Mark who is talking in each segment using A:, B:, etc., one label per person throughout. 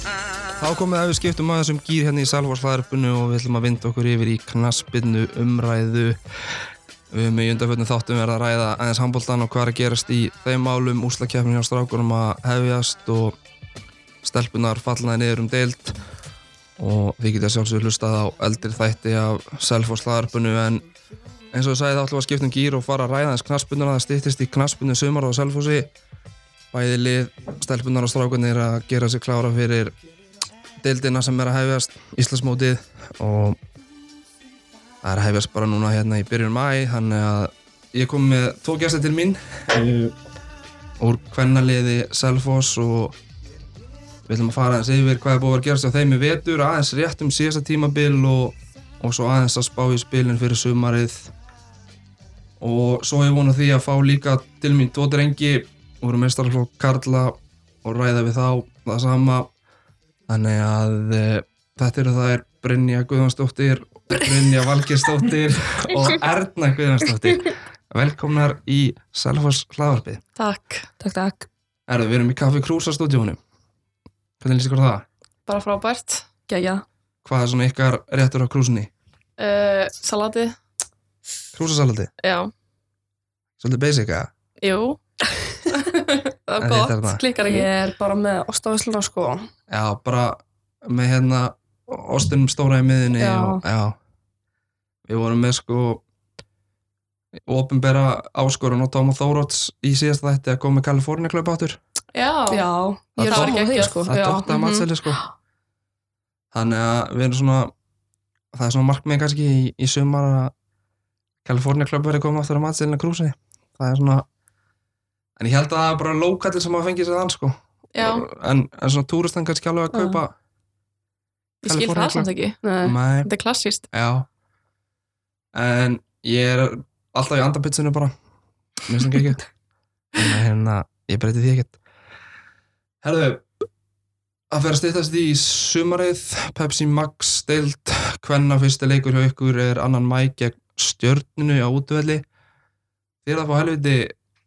A: Þá komum við að við skiptum að þessum gýr hérna í salvarslæðarpinu og við ætlum að vinda okkur yfir í knaspinnu umræðu. Við höfum í undanfjörnum þáttum verið að ræða aðeins handbóltan og hvað er að gerast í þeim málum úslakeppnin hjá strákunum að hefjast og stelpunar fallnaði niður um deild og þið getið að sjálfsögur hlustað á eldri þætti af selforslæðarpinu en eins og ég sagði þá ætlum við að skiptum gýr og fara að ræða aðeins knaspinnuna það stýttist í knaspinnu sumar á selfossi bæði lið stelpunar og strákunir að gera sér klára fyrir deildina sem er að hefjast Íslandsmótið og það er að hefjast bara núna hérna í byrjun mæ þannig að ég kom með tvo gæsta til mín eh, úr kvennaliði Selfoss og við ætlum að fara aðeins yfir hvað er búið að gerast á þeim í vetur aðeins rétt um síðasta tímabil og, og svo aðeins að spá í spilin fyrir sumarið og svo ég vona því að fá líka til mín tvo drengi úr mestarflokk Karla og ræða við þá það sama Þannig að e, þetta eru þær Brynja Guðvansdóttir, Brynja Valgersdóttir og Erna Guðvansdóttir. Velkomnar í Selfoss hlaðvarpið.
B: Takk, takk, takk.
A: Erðu, við erum í Kaffi Krúsa stúdíónu. Hvernig lýst ykkur það?
B: Bara frábært. Gæja.
A: Hvað er svona ykkar réttur á krúsinni?
B: Uh, salati,
A: Krúsasalati?
B: já.
A: Svolítið basic, eða?
B: Jú. það
A: En
B: er
A: þetta er
B: gott,
A: það.
B: klikkar
C: Ég
B: ekki.
C: er bara með ostafisluna sko
A: Já, bara með hérna ostinum stóra í miðinni
C: Já.
A: og já. Við vorum með sko ofinbera áskorun og Tóma Þóróts í síðasta þætti að koma með Kalifornia klöp áttur.
B: Já.
C: Já, ég er
A: Það
C: svo
B: var
C: á því
B: geggjað.
C: sko
A: það
C: Já.
A: dottaði
B: mhm.
A: matseli sko þannig að við erum svona það er svona markmið kannski í, í sumar að Kalifornia Club verið koma aftur að matselina krúsi það er svona en ég held að það er bara lókallin sem að fengi sér þann sko
B: Mhm. Já,
A: en, en svona túristan kannski alveg að
C: Já.
A: kaupa
B: ég skil
A: Kaliforníu
B: það samt ekki. Mm.
C: Nei,
A: nei,
B: Þetta er klassíst.
A: já en ég er alltaf í andapitsinu bara mér finnst það ekki en hérna, ég breyti því ekkert herðu að vera stýttast í sumarið Pepsi Max steilt hvenna fyrsti leikur hjá ykkur er annan mæ gegn stjörnunu á útvelli þér að fá helviti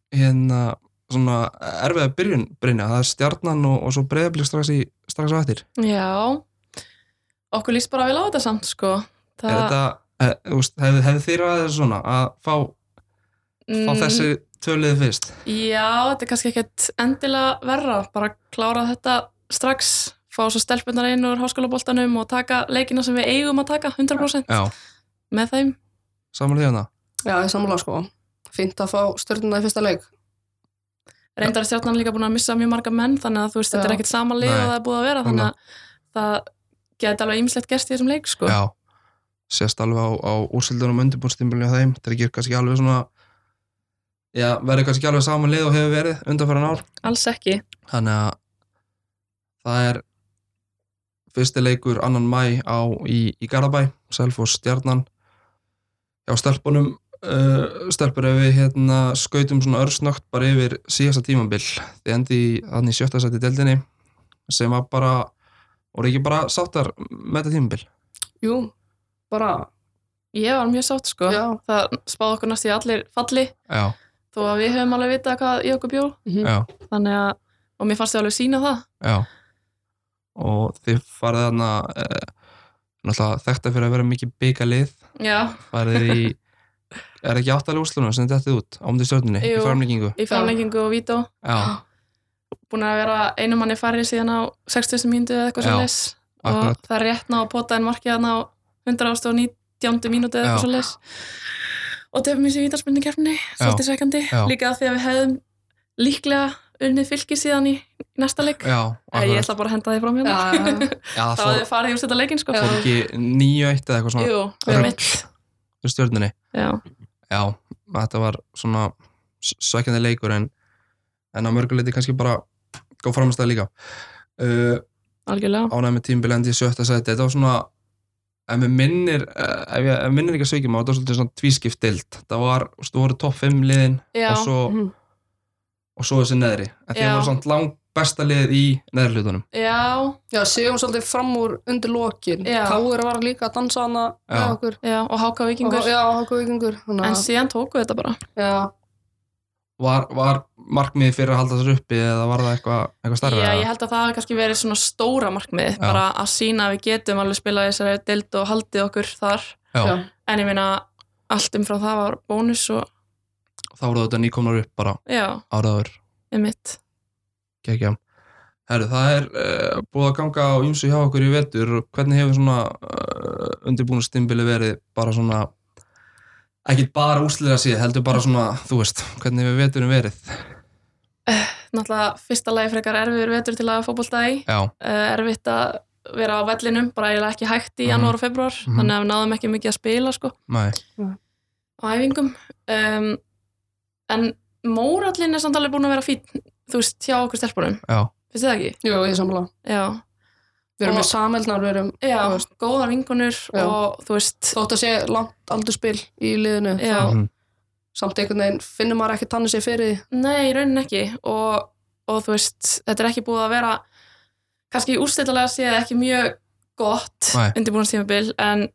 A: hérna svona erfiða byrjun Brynja, það er stjarnan og, og svo breyðablík strax, í, strax á eftir
B: Já. Okkur líst bara vel á þetta samt, sko.
A: er þetta, eh, þú veist, hefði hef þér aðeins svona að fá, fá
B: Mm,
A: þessi tölið fyrst
B: Já, þetta er kannski ekkert endilega verra. Bara klára þetta strax, fá svo stelpunar inn úr háskólaboltanum og taka leikina sem við eigum að taka, 100%
A: já,
B: með þeim.
A: saman því hérna. hana
C: já, ég er sammála sko Fynd að fá stjórnuna í fyrsta leik
B: reyndar er stjarnan líka búin að missa mjög marga menn þannig að þú veist, þetta
C: Já.
B: er ekkert sama lið
A: Nei.
B: og það er búið að vera þannig að það geti alveg ýmislegt gerst í þessum leik sko.
A: Já, sést alveg á, á úrsildunum undirbúrstimulinu á þeim, þetta er ekki kannski alveg svona já, verður kannski ekki alveg saman lið og hefur verið undanfæran ár
B: alls ekki
A: þannig að það er fyrsti leikur annan mæ á í, í Garabæ, Selfoss stjarnan hjá stelpunum uh, stelpur ef við hérna skautum svona örsnögt bara yfir síðasta tímambil þið endi í- þarna í sjötta sæti deldinni sem var bara voru ekki bara sáttar með þetta tímambil
C: Jú, bara,
B: ég var mjög sátt sko.
C: já
B: það spáði okkur næst í allir falli
A: Já,
B: þó að við höfum alveg vitað hvað í okkur bjó
C: mhm.
A: já
B: þannig að, og mér fannst þið alveg sína það
A: Já. Og þið farið þarna eh, náttúrulega þekta fyrir að vera mikið byggalið
B: já,
A: farið í er ekki áttalega úrslunum sem þetta út ámdi stjórninni í
B: Jú.
A: framlengingu
B: í framlengingu og vító
A: Já,
B: búin að vera einu manni færri síðan á 60. mínútu eða eitthvað
A: Já,
B: svo leis og
A: akkurat.
B: það er rétt ná að pota en markið hann á 119. mínútu
A: Já.
B: eða eitthvað svo leis og tefum þessi vítarspunni kefni svolítið sækandi,
A: Já.
B: líka af því að við hefðum líklega unnið fylki síðan í í næsta leik,
A: já,
B: Eða
A: akkurat.
B: ég ætla bara að henda því fram hérna
C: Já, já,
A: Já,
B: þá hefðu
A: fór,
B: við farið í úrstæta leikin sko
A: fór ekki nýju eitt eða eitthvað svona
B: Jú, við
A: Rugl.
B: mitt
A: í stjórninni
B: Já,
A: Já, þetta var svona s- svekkjandi leikur en, en að mörguleiti kannski bara góð framstæð líka uh,
B: algjörlega
A: ánægð með tímbilendi í sjötta sæti þetta var svona ef mér minnir, eh, ef ég ef minnir ekki að sveikja mig þetta var svolítið svona tvískipt dild það var, þú veist, þú voru topp 5 liðin
B: Já,
A: og svo,
C: mhm.
A: og svo þessi neðri en þeir
B: Já.
A: voru svona langt besta liðið í neðri hlutunum
B: já,
C: já Sigum svolítið fram úr undir lokin
B: Já.
C: Káur var líka að dansa hana
A: Já.
C: með okkur
B: já, og háka vikingur
C: Og- Já, okkur vikingur
B: En síðan tóku þetta bara
C: Já,
A: var, var markmiðið fyrir að halda þessar uppi eða var það eitthvað eitthva starra?
B: Já, ég held að það hafi kannski verið svona stóra markmið
A: Já.
B: bara að sína að við getum alveg spilað í þessari deild og haldið okkur þar
A: Já,
C: Já.
B: en ég meina allt umfrá það var bónus og
A: þá voru þetta nýkomnar upp bara
B: já,
A: áraður,
B: einmitt
A: gekkja. Herru, það er uh, búið að ganga á ýmsu hjá okkur í vetur. Hvernig hefur svona uh, undirbúinstimbili verið bara svona, ekki bara úsliða síð, heldur bara svona, þú veist, hvernig hefur veturinn verið?
B: náttúrulega fyrsta lagi frekar erfiður vetur til að fótbolta í
A: Já,
B: uh, erfitt að vera á vellinum bara eiginlega ekki hægt í
A: Mhm.
B: janúar og februar
A: Mhm.
B: þannig að við náðum ekki mikið að spila sko,
A: næ,
B: á æfingum um, en mórallin er samt alveg búin að vera fín þú veist, hjá okkur stelpunum,
A: já,
B: finnst þið það ekki?
C: Jú, ég samla.
B: Já,
C: Við erum
B: Og-
C: með sameldnar, við erum,
B: já
C: Þú veist.
B: góðar vingunur
C: Já.
B: og þú veist
C: þótt að sé langt aldurspil í liðinu.
B: Já.
C: þá
A: mhm,
C: Samt einhvern veginn finnum maður ekki tannu sér fyrir því.
B: Nei, í raunin ekki og, og þú veist, þetta er ekki búið að vera kannski úrstættalega séð ekki mjög gott
A: Nei.
B: undirbúinast tímabil en,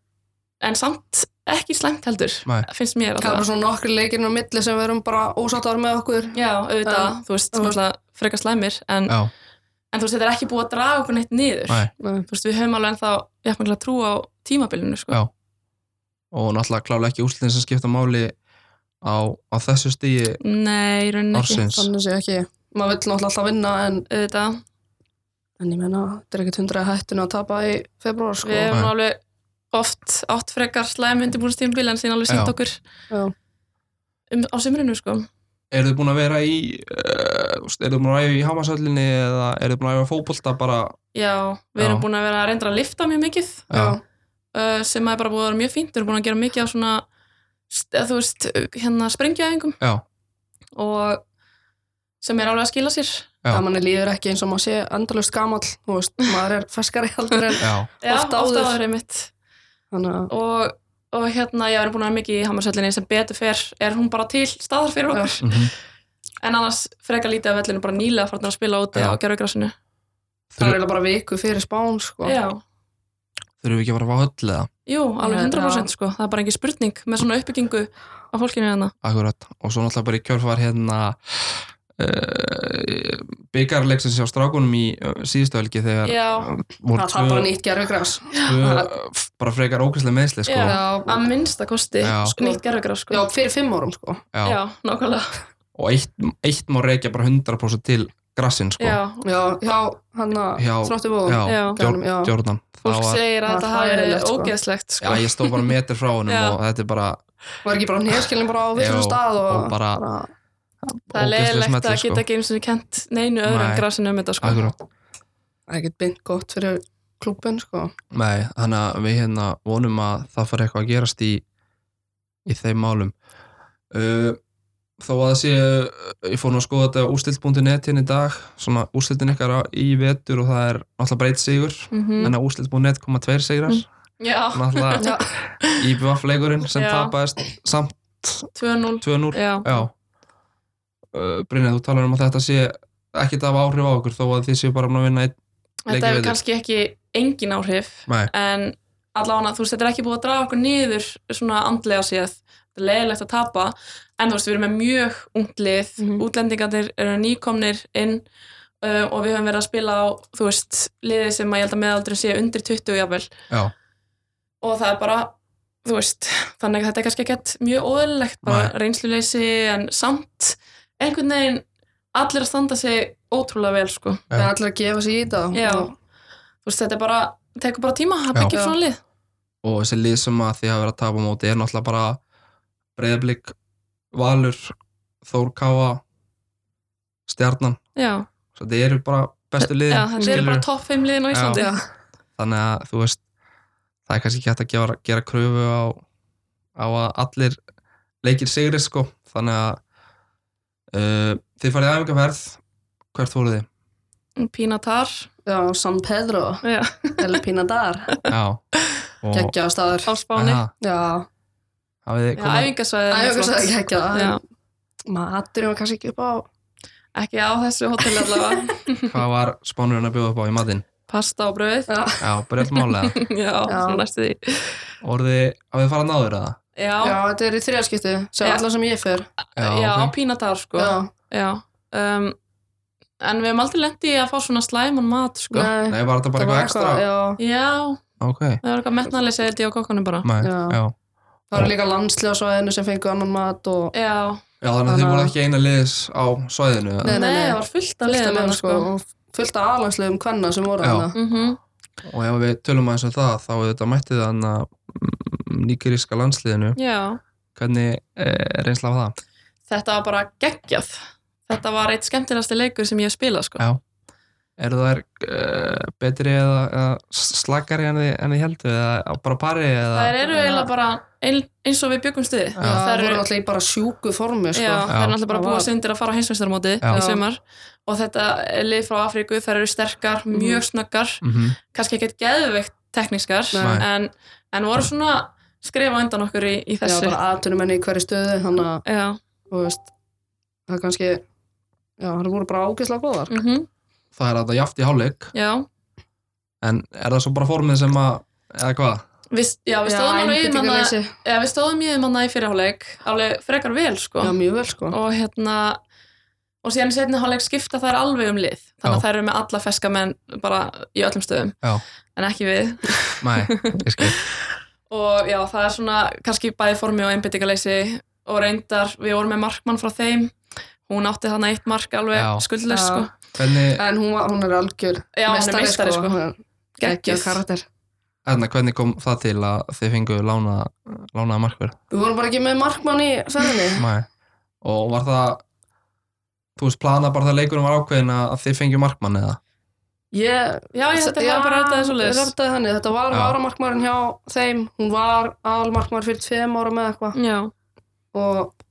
B: en samt ekki slæmt heldur
A: Nei.
B: finnst
C: Það
B: mér
C: er bara
B: alltaf
C: svona nokkri leikirinn á milli sem við erum bara ósáttar með okkur.
B: Já, auðvitað,
C: En-
B: þú veist,
C: þú veist-
B: náttúrulega frekar slæmir en,
A: já,
B: en þú veist, þetta er ekki búið að draga okkur neitt niður
A: næ.
C: Nei.
B: þú veist, við höfum alveg ennþá jafnmengla trú á tímabilinu sko.
A: Já. og náttúrulega klálega ekki úsliðin sem skipta máli á, á þessu stíi
B: Nei, í raunin ekki
A: ársins
C: Þannig sé ekki, maður vill náttúrulega alltaf vinna en,
B: auðvitað,
C: en ég menna, þetta er ekkert hundrað hættinu að tapa í februar sko.
B: við hefum
A: Nei.
B: alveg oft átt frekar slæm undirbúinast tímabil en síðan alveg
A: Já.
B: sínt okkur
C: Já.
B: um, á sumrinu sko.
A: eru þið búin að vera í uh, eru þið búin að æfa í hamasöllinni eða eru þið búin að æfa fótbolta bara
B: Já, við
A: Já.
B: erum búin að vera að reynda að lifta mjög mikið
C: Já,
B: uh, sem er bara búin að vera mjög fínt, við erum búin að gera mikið af svona st- eða þú veist, hérna sprengjaæfingum
A: já,
B: og sem er alveg að skila sér
A: Já.
C: það manni líður ekki eins og maður sé endalust gamall, þú veist, maður er ferskari heldur en
A: já,
B: Já,
C: Oft
B: oft
C: áður.
B: áður einmitt
C: þannig að
B: og, og hérna, já, við erum búin að vera mikið í hamarsöllinni sem betur fer, er hún bara til staðar fyrir okkur,
A: mhm
B: en annars frekar lítið af vellinu bara nýlega farnar að spila úti
A: Já.
B: á gerðugrassinu
C: það er eiginlega bara viku fyrir spán sko.
B: Já,
A: þurfum við ekki að fara á höll eða
B: jú, alveg
C: Já.
B: 100% sko, það er bara engin spurning með svona uppbyggingu á fólkinu hérna
A: akkurat, og svo náttúrulega bara í kjölfar hérna uh, byggarleiksins hjá strákunum í eh, síðustu helgi þegar
B: Já,
A: voru
C: það tapar
A: tvö,
C: nýtt gerfigræs.
A: tvö f- bara frekar ókvæslega meðsli sko.
B: Já.
C: Já,
B: að minnsta kosti
A: Já.
B: sko, nýtt gerðugrass sko
C: já, fyrir fimm árum sko.
A: Já. Sko.
B: Já, nákvæmlega.
A: og eitt, eitt má reykja bara 100% til grassin sko.
B: Já,
C: Já, já, hann að
A: Já,
C: þróttum og
A: já,
B: Já.
A: Jor-
C: Já.
A: Jordan Það
B: fólk
A: var-
B: segir að
C: það
B: þetta
C: var
B: hafi verið
C: hræðilegt, sko.
B: ógeðslegt
A: Já,
B: sko.
A: ég stóð bara metr frá honum
B: Já.
A: og þetta er bara
C: var ekki bara nýðskilin bara á vissum
A: Já,
C: stað og,
A: og bara-
B: Það er
A: ógeðsleg
B: leiðilegt
A: smellur,
B: að geta ekki eins og kent neinu öðru
A: sko. Nei.
B: en grasinu um þetta sko.
A: Akkurat.
C: það er ekkert beint gott fyrir klubben sko.
A: Nei, þannig að við hérna vonum að það fari eitthvað að gerast í í þeim málum uh, Þó að það sé uh, ég fór nú að skoða þetta á ústilt.net hérna í dag, svona ústiltin ykkar á- í vetur og það er náttúrulega breytt sigur
B: Mhm.
A: en að ústilt.net koma tveir sigrar
B: Mm. Já,
A: náttúrulega
C: Já.
A: IBF leikurinn sem
B: Já.
A: tapaðist samt
B: 2-0
A: 2-0
B: Já,
A: Já uh, Brynja, þú talar um að þetta sé ekkert af áhrif á okkur þó að þið séu bara búin að vinna einn Leikir
B: þetta hefur
A: við þig.
B: kannski ekki engin áhrif
A: Nei,
B: en allavega þú veist, þetta er ekki búið að draga okkur niður svona andlega séð þetta er leiðilegt að tapa en þú veist, við erum með mjög unglið mm
C: Mhm.
B: útlendingarnir eru nýkomnir inn uh, og við höfum verið að spila á þú veist, liðið sem að ég held að meðaldurinn sé undir 20 jáfnvel
A: já,
B: og það er bara þú veist, þannig að þetta er kannski ekkert mjög óðurlegt, bara
A: Nei.
B: reynsluleysi en samt einhvern veginn allir að standa sig ótrúlega vel sko.
A: Já.
C: það er allir að gefa sér í þetta
B: Já.
C: og-
B: þú veist, þetta er bara tekur bara tíma að
A: Já.
B: byggja upp
C: Já.
B: svona lið
A: og þessi lið sem að þið hafa verið að tapa á móti er náttúrulega bara breyðablík, valur Þór Káa stjarnan,
B: já,
A: svo þetta eru bara bestu liðin,
B: já þetta er
A: skilurðu.
B: bara topp 5 liðin á Íslandi
C: Já.
A: þannig að þú veist það er kannski ekki hægt að gera, gera kröfu á, á að allir leikir sigri sko, þannig að uh, þið farið aðeinkaferð hvert voruð þið?
B: pína þar
C: já, San Pedro,
B: já,
C: El Pinadar
A: Já, og
C: geggja staður
B: á Spáni
A: Aha,
C: já,
A: hafið þið
B: já,
A: komið
B: æfingasvæði
C: æfingarsvæði geggja maturinn var kannski ekki upp á
B: ekki á þessu hótel allavega
A: hvað var spánurinn að bjóða upp á í matinn
B: pasta og brauð
C: já,
A: já, bara rétt málega
B: já, já.
C: Já.
B: næstu því
A: orðið að við fara náður að það
B: já,
C: Já, þetta er í þriðarskipti, sem
B: Já.
C: allar sem ég fer.
B: já,
A: ok.
B: pína þar sko
C: Já,
B: Já, um, en við hefum aldrei lendið í að fá svona slæman mat sko.
C: nei,
A: Nei, var þetta bara
C: það
A: eitthvað
C: var
A: ekstra?
C: já,
B: Já,
A: Ok,
B: það var eitthvað metnaðlega segið á kokkanum bara
A: Nei,
C: Já.
A: já.
C: það var líka landslið á svæðinu sem fengu annan mat og
B: Já,
A: Já, þannig að þið
C: Þannig að-
A: voru ekki eina liðis á svæðinu eða?
C: Nei,
B: nei, það var fullt af
C: fullt af
B: liðum
C: liðum,
B: hérna,
C: sko, og fullt af aðlagslegum kvenna sem voru
A: Já.
C: hana.
B: Mhm.
A: og ef við tölum aðeins um það þá þetta mætti það hann að nýgeríska landsliðinu
B: Já,
A: hvernig eh, reynsla af það?
B: þetta var bara geggjað Þetta var eitt skemmtilegasti leikur sem ég hef spilað sko.
A: Já. Eru þær eh, betri eða, eða slakari en þið, en þið heldur eða bara pari eða
B: Það eru eiginlega bara ein, eins og við byggum stuði
A: Já.
C: Já, það
B: Þær
C: voru
B: eru-
C: náttúrulega í bara sjúku formi, sko.
B: Já, það er náttúrulega bara
C: Það
B: búið
C: var-
B: sindir að fara á heimsveistarmóti
A: Já.
B: í sumar og þetta er lið frá Afríku, þær eru sterkar,
C: Mhm.
B: mjög snöggar
A: Mhm.
B: kannski ekkert geðveikt teknískar
A: Nei.
B: en, en voru svona skrifa undan okkur í, í
C: Já,
B: þessu
C: bara atvinnumenni í hverju stöðu, þannig að,
B: Já,
C: þú veist, það er kannski, já, það voru bara ágæslega góðar.
B: mhm,
A: Það er þetta jaft í hálfleik
B: já
A: en er það svo bara formið sem að eða hvað?
B: Við, já, við stóðum alveg í manna
C: einbeitingarleysi.
B: Já, við stóðum í manna í fyrirháleik alveg frekar vel, sko
C: Já, mjög vel, sko.
B: og hérna og síðan í setni hálfleik skipta þær alveg um lið þannig
A: Já.
B: að þær eru með alla feska menn bara í öllum stöðum
A: Já.
B: en ekki við
A: Nei, ég skil
B: og já, það er svona kannski bæði formi og einbyttingaleysi og reyndar, við vorum með markmann frá þeim hún átti þarna eitt mark alveg
A: Já.
B: skuldlega,
C: Já.
B: sko
A: Hvernig,
C: En hún, var, hún er algjör
B: Já, hún er
C: meistari,
B: meistari, sko.
C: Hún er Gekkið
B: Gekkið.
C: karakter.
A: enna, hvernig kom það til að þið fenguðu lána, lánaða markverð?
C: Við vorum bara ekki með markmann í ferðinni.
A: Nei. Og var það þú veist, plana bara það leikurinn var ákveðin að að þið fengju markmann eða?
C: Ég
B: Já, ég held að það var bara þetta þessu
C: ég
B: leis.
C: rataði þannig. Þetta var
A: Já.
C: varamarkmaðurinn hjá þeim. Hún var aðalmarkmaður fyrir tveim ára með eitthvað.
B: Já,
C: Og,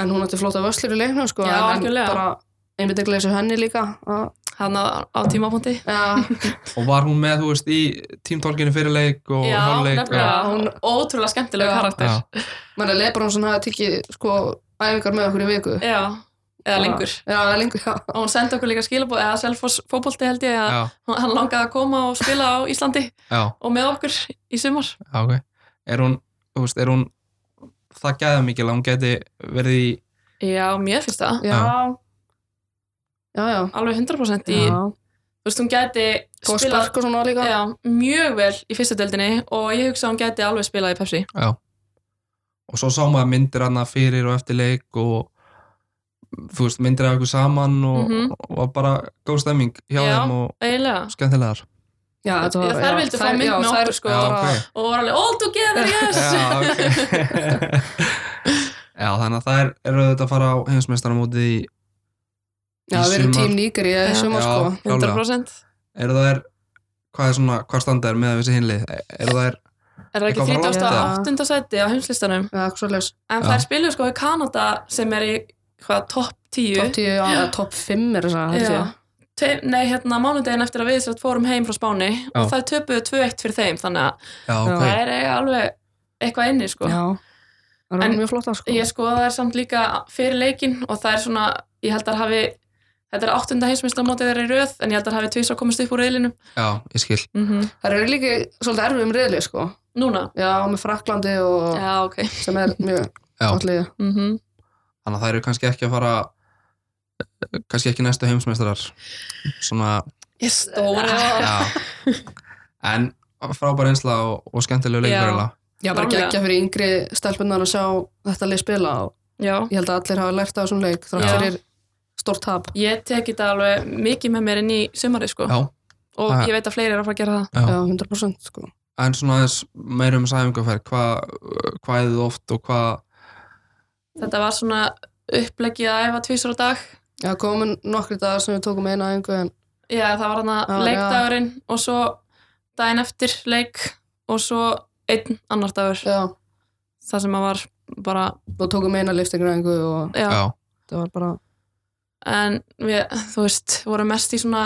C: en hún ætti flóta vöslur í leiknum, sko.
B: Já,
C: en, en
B: algjörlega.
C: bara einbyttilega þessu henni líka. að-
B: hann á, á tímapunkti.
C: Já,
A: Og var hún með, þú veist, í tímtólkinu fyrir leik og
B: Já,
A: hálfleik?
B: nefnilega.
C: Já, hún-
B: Ótrúlega skemmtilega
C: Já.
B: karakter.
A: Já.
C: menn að Lebron hafði tikið, sko, æfingar með okkur í viku.
B: Já, eða lengur.
C: Já, eða lengur, já.
B: Og hún sendi okkur líka skilabóð, eða Selfoss fótbolti held ég, að
A: Já,
B: hann langaði að koma og spila á Íslandi
A: já,
B: og með okkur í sumar.
A: já, ok. Er hún, þú veist, er hún það gæða mikil að hún geti verið í,
B: Já, mér finnst það.
C: Já, já, já.
B: Alveg 100% í,
C: já.
B: þú veist, hún gæti
C: Góð spark og svona líka.
B: já, mjög vel í fyrstu deildinni og ég hugsa að hún gæti alveg spilað í Pepsi.
A: já. Og svo sá maður myndir hana fyrir og eftir leik og þú veist, myndir af ykkur saman og,
B: Mhm.
A: og var bara góð stemming hjá
B: Já.
A: þeim og
B: Eiginlega.
A: skemmtilegar.
C: Já, þetta var,
B: Já, þær vildu fá
C: þær-
B: mynd
C: já,
B: með
C: þær-
B: okkur, sko,
A: Já,
C: bara-
A: ok.
B: Og voru alveg, all together, yes!
A: Já, ok. já, þannig að það er, eru þetta að fara á heimsmeistaramótið í,
C: Já,
A: í
C: við erum
A: sumar.
C: tím nýgur í
B: Já.
C: sumar sko.
A: Já, klálega.
B: 100%.
A: eru það er hvað er svona, hvað standa er með þessi hinlið eru það er,
B: Er það ekki
A: Eitthvað frá
B: 38. sæti á heimslistanum?
C: Já, svo leys.
B: En
A: Já.
B: þær spiluðu sko í Kanada sem er í hvað, topp 10?
C: Top 10, já, eða top 5 er það, held
B: Já.
C: ég.
B: Te- Nei, hérna mánudegin eftir að við sér fórum heim frá Spáni og þær töpuðu 2-1 fyrir þeim þannig að
A: já, ok,
B: það er eiga alveg eitthvað inni sko.
C: Já. Það
B: En-
C: var mjög flott, sko.
B: Ég skoða þær samt líka fyrir leikin og það er svona, ég held að hafi þetta er áttunda heimsmyndstamótið þeirra í röð en ég held að hafi tvís að komast upp úr reilinu
A: já, ég skil
B: mm
C: Það eru líka svolítið erfið um reyðli, sko.
B: Núna?
C: Já, með Fraklandi og
B: Já, ok
C: sem er mjög
A: Já.
C: gott liðið.
B: mm
A: þannig að það eru kannski ekki að fara kannski ekki næstu heimsmeistarar svona,
B: Ég stóra
A: já en frábær einsla og, og skemmtilega
B: Já.
A: leikur já.
C: Já, bara
B: Klárlega.
C: geggja fyrir yngri stelpunar að sjá þetta lið spila og
B: Já,
C: ég held að allir hafa lært á þessum leik þrátt
B: Já.
C: fyrir stórt tap.
B: ég teki þetta alveg mikið með mér inn í sumarið sko
A: já,
B: og
A: Það-
B: ég veit að fleiri er að fara að gera það
A: Já.
C: Já, 100% sko.
A: en svona aðeins meira um sæfingarferð hvað hva er þið oft og hvað
B: Þetta var svona upplegið að æfa tvísar á dag
C: Já, komin nokkri dagar sem við tókum eina aðingu en
B: Já, það var hann
C: Já,
B: að leikdagurinn og svo daginn eftir leik og svo einn annar dagur
C: já,
B: það sem að var bara,
C: við tókum eina liftingur aðingu og
B: já,
A: já,
C: það var bara
B: en við, þú veist, vorum mest í svona